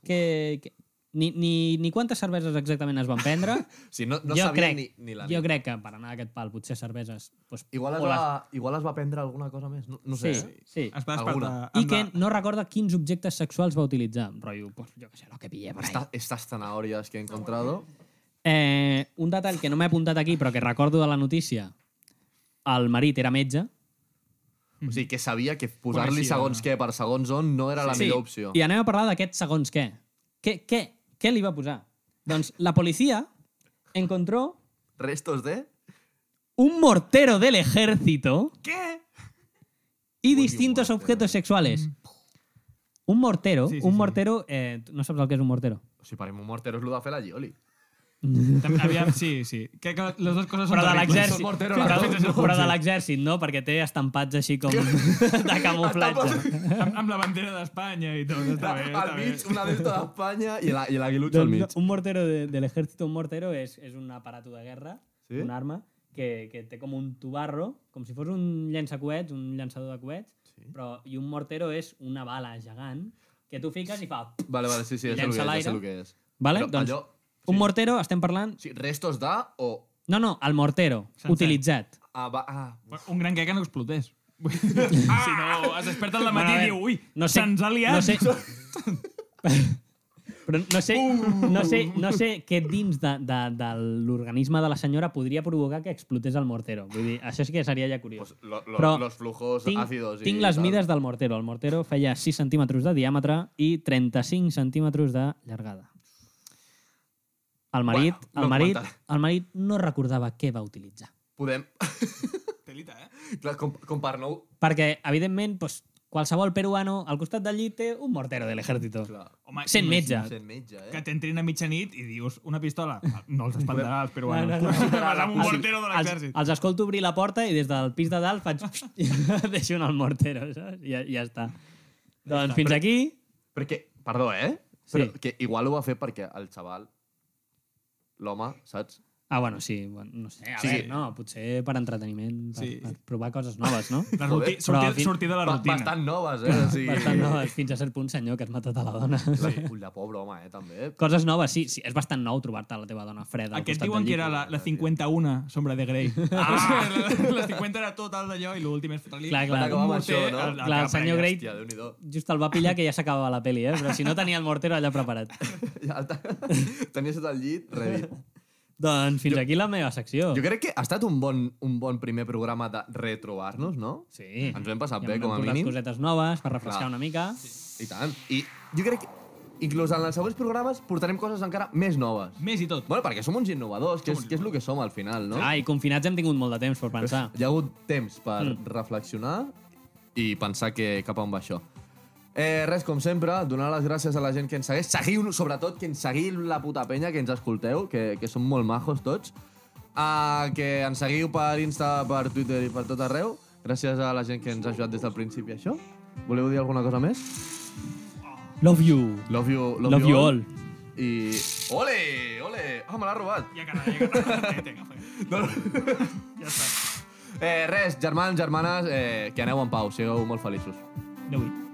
[SPEAKER 4] que, que ni, ni, ni quantes cerveses exactament es van prendre,
[SPEAKER 3] Si no, no
[SPEAKER 4] jo,
[SPEAKER 3] sabia
[SPEAKER 4] crec,
[SPEAKER 3] ni, ni la
[SPEAKER 4] jo
[SPEAKER 3] nit.
[SPEAKER 4] crec que per anar a aquest pal potser cerveses... Pues,
[SPEAKER 3] Igual es,
[SPEAKER 4] o les-
[SPEAKER 3] va, igual es va prendre alguna cosa més. No, no sé.
[SPEAKER 4] Sí, sí.
[SPEAKER 5] Es va despertar...
[SPEAKER 3] Alguna.
[SPEAKER 4] I
[SPEAKER 5] amb
[SPEAKER 4] que
[SPEAKER 5] la-
[SPEAKER 4] no recorda quins objectes sexuals va utilitzar. Rotllo, pues, jo que sé, lo que pillé per ahí.
[SPEAKER 3] Esta- estas zanahorias que he encontrado.
[SPEAKER 4] Eh, un detall que no m'he apuntat aquí, però que recordo de la notícia. El marit era metge.
[SPEAKER 3] O sigui, que sabia que posar-li
[SPEAKER 5] Coneixia,
[SPEAKER 3] segons
[SPEAKER 5] no?
[SPEAKER 3] què per segons on no era la millor opció.
[SPEAKER 4] I anem a parlar d'aquest segons què. Què, què, què li va posar? Doncs la policia encontró
[SPEAKER 3] Restos de...
[SPEAKER 4] un mortero del ejército
[SPEAKER 5] Què?
[SPEAKER 4] y distintos objetos sexuales. Un mortero,
[SPEAKER 5] Sí, sí,
[SPEAKER 4] un
[SPEAKER 5] sí.
[SPEAKER 4] mortero... Eh, tu no saps el que és un mortero?
[SPEAKER 3] O sigui, per mi un mortero és el de fer la Gioli.
[SPEAKER 5] També, aviam, sí, sí. Crec que les dues coses són
[SPEAKER 4] Però de
[SPEAKER 5] terribles.
[SPEAKER 4] l'exèrcit.
[SPEAKER 3] mortero,
[SPEAKER 4] Però,
[SPEAKER 5] la
[SPEAKER 4] però,
[SPEAKER 5] Constitució.
[SPEAKER 4] de l'exèrcit, no? Perquè té estampats així com de camuflatge.
[SPEAKER 5] Amb, amb la bandera d'Espanya i tot. Està bé, està
[SPEAKER 10] Al
[SPEAKER 5] bé.
[SPEAKER 10] mig, una d'esta d'Espanya i la- i l'aguilutxo al mig.
[SPEAKER 4] Doncs un mortero de, de l'ejército, un mortero és, és un aparato de guerra,
[SPEAKER 10] Sí?
[SPEAKER 4] un arma, que, que té com un tubarro, com si fos un llançacoets, un llançador de coets, sí. però, i un mortero és una bala gegant que tu fiques i fa...
[SPEAKER 3] Vale, vale, sí, sí, ja sé el
[SPEAKER 4] Llença
[SPEAKER 3] que és, ja
[SPEAKER 4] l'aire.
[SPEAKER 3] sé el que és.
[SPEAKER 4] Vale?
[SPEAKER 3] Però
[SPEAKER 4] doncs,
[SPEAKER 3] allò-
[SPEAKER 4] un mortero, estem parlant...
[SPEAKER 3] Sí, restos de o...
[SPEAKER 4] No, no, el mortero,
[SPEAKER 5] Sencer.
[SPEAKER 4] utilitzat.
[SPEAKER 3] Ah, va, ah.
[SPEAKER 5] Un gran que que no explotés. Ah! Si no, es desperta al matí
[SPEAKER 4] Bueno, a
[SPEAKER 5] i
[SPEAKER 4] veure,
[SPEAKER 5] diu, ui,
[SPEAKER 4] no sé-
[SPEAKER 5] se'ns ha liat.
[SPEAKER 4] No sé... Però no sé, no sé, no sé què dins de, de, de l'organisme de la senyora podria provocar que explotés el mortero. Vull dir, això sí que seria ja curiós.
[SPEAKER 3] Pues lo, lo,
[SPEAKER 4] Però
[SPEAKER 3] los flujos
[SPEAKER 4] tinc,
[SPEAKER 3] ácidos i
[SPEAKER 4] tinc les
[SPEAKER 3] tal.
[SPEAKER 4] mides del mortero. El mortero feia 6 centímetres de diàmetre i 35 centímetres de llargada. El marit,
[SPEAKER 3] Bueno, no
[SPEAKER 4] el, marit,
[SPEAKER 3] comentaré.
[SPEAKER 4] el marit no recordava què va utilitzar.
[SPEAKER 3] Podem...
[SPEAKER 5] Telita, eh?
[SPEAKER 3] Clar, com, com per nou...
[SPEAKER 4] Perquè, evidentment, doncs, qualsevol peruano al costat del llit té un mortero de l'ejército.
[SPEAKER 3] Clar,
[SPEAKER 5] Home,
[SPEAKER 4] Sent metge.
[SPEAKER 5] imagina't
[SPEAKER 3] sent metge, eh?
[SPEAKER 5] Que t'entrin a mitjanit i dius, una pistola. No els espantarà els peruanos.
[SPEAKER 4] No, no, no.
[SPEAKER 5] Vas amb un
[SPEAKER 4] Els-
[SPEAKER 5] mortero de l'exèrcit.
[SPEAKER 4] Els, els escolto obrir la porta i des del pis de dalt faig... i deixo en el mortero, saps? I Ja, ja està. Doncs fins aquí...
[SPEAKER 3] Perquè, perdó, eh?
[SPEAKER 4] Sí.
[SPEAKER 3] Però que igual ho va fer perquè el xaval, l'home, saps?
[SPEAKER 4] Ah, bueno, sí, bueno, no sé, a sí.
[SPEAKER 3] Sí.
[SPEAKER 4] veure, no, potser per entreteniment, per,
[SPEAKER 5] Sí.
[SPEAKER 4] sí. per provar coses noves, no?
[SPEAKER 5] La
[SPEAKER 3] Joder,
[SPEAKER 4] però, en
[SPEAKER 5] ruti,
[SPEAKER 4] fi-
[SPEAKER 5] sortir, sortir de la
[SPEAKER 3] Ba-
[SPEAKER 5] rutina.
[SPEAKER 3] Bastant noves, eh? O sigui...
[SPEAKER 4] Bastant noves, fins a cert punt, senyor, que has matat a la dona.
[SPEAKER 3] La, ull, la pobre home, eh, també.
[SPEAKER 4] Coses noves, sí, sí, és bastant nou trobar-te la teva dona freda al
[SPEAKER 5] Aquests
[SPEAKER 4] costat
[SPEAKER 5] diuen
[SPEAKER 4] del
[SPEAKER 5] que
[SPEAKER 4] llit.
[SPEAKER 5] era la, la 51 sombra de Grey. Ah! la 50 era tot alt d'allò i l'últim és fotre-li
[SPEAKER 4] Clar, clar. Van
[SPEAKER 5] un
[SPEAKER 4] acabar
[SPEAKER 3] amb
[SPEAKER 5] morter
[SPEAKER 3] això, no?
[SPEAKER 5] al- al
[SPEAKER 4] Clar, el
[SPEAKER 5] cap,
[SPEAKER 4] senyor
[SPEAKER 5] eh?
[SPEAKER 4] Grey
[SPEAKER 3] Hòstia, Déu-n'hi-do.
[SPEAKER 4] Just el va pillar que ja s'acabava la peli, eh? Però si no tenia el mortero allà preparat.
[SPEAKER 3] Ja el te- Tenia sota el llit, redit.
[SPEAKER 4] doncs fins aquí la meva secció.
[SPEAKER 3] Jo crec que ha estat un bon, un bon primer programa de retrobar-nos, no?
[SPEAKER 4] Sí.
[SPEAKER 3] Ens ho hem passat
[SPEAKER 4] I
[SPEAKER 3] bé,
[SPEAKER 4] hem
[SPEAKER 3] com a
[SPEAKER 4] portat
[SPEAKER 3] mínim.
[SPEAKER 4] cosetes noves per refrescar
[SPEAKER 3] Clar.
[SPEAKER 4] una mica.
[SPEAKER 3] I tant. I jo crec que inclús en els següents programes portarem coses encara més noves.
[SPEAKER 5] Més i tot.
[SPEAKER 3] Bueno, perquè som uns innovadors, que és, que és el que som al final, no?
[SPEAKER 4] No? Ah, i confinats hem tingut molt de temps per pensar.
[SPEAKER 3] Hi ha hagut temps per reflexionar i pensar que cap on va això. Eh, res, com sempre, donar les gràcies a la gent que ens segueix. Seguiu-nos, sobretot, que ens seguiu la puta penya, que ens escolteu, que, que som molt majos tots. Uh, que ens seguiu per Insta, per Twitter i per tot arreu. Gràcies a la gent que ens ha ajudat des del principi, això. Voleu dir alguna cosa més?
[SPEAKER 4] Love you.
[SPEAKER 3] Love you, love
[SPEAKER 4] Love
[SPEAKER 3] you
[SPEAKER 4] you
[SPEAKER 3] all.
[SPEAKER 4] all.
[SPEAKER 3] I... Ole, ole! Ah, me l'ha robat.
[SPEAKER 5] Ja que ja que Té, agafa. Ja està.
[SPEAKER 3] Eh, res, germans, germanes, eh, que aneu en pau, sigueu molt feliços.
[SPEAKER 5] Adéu-hi.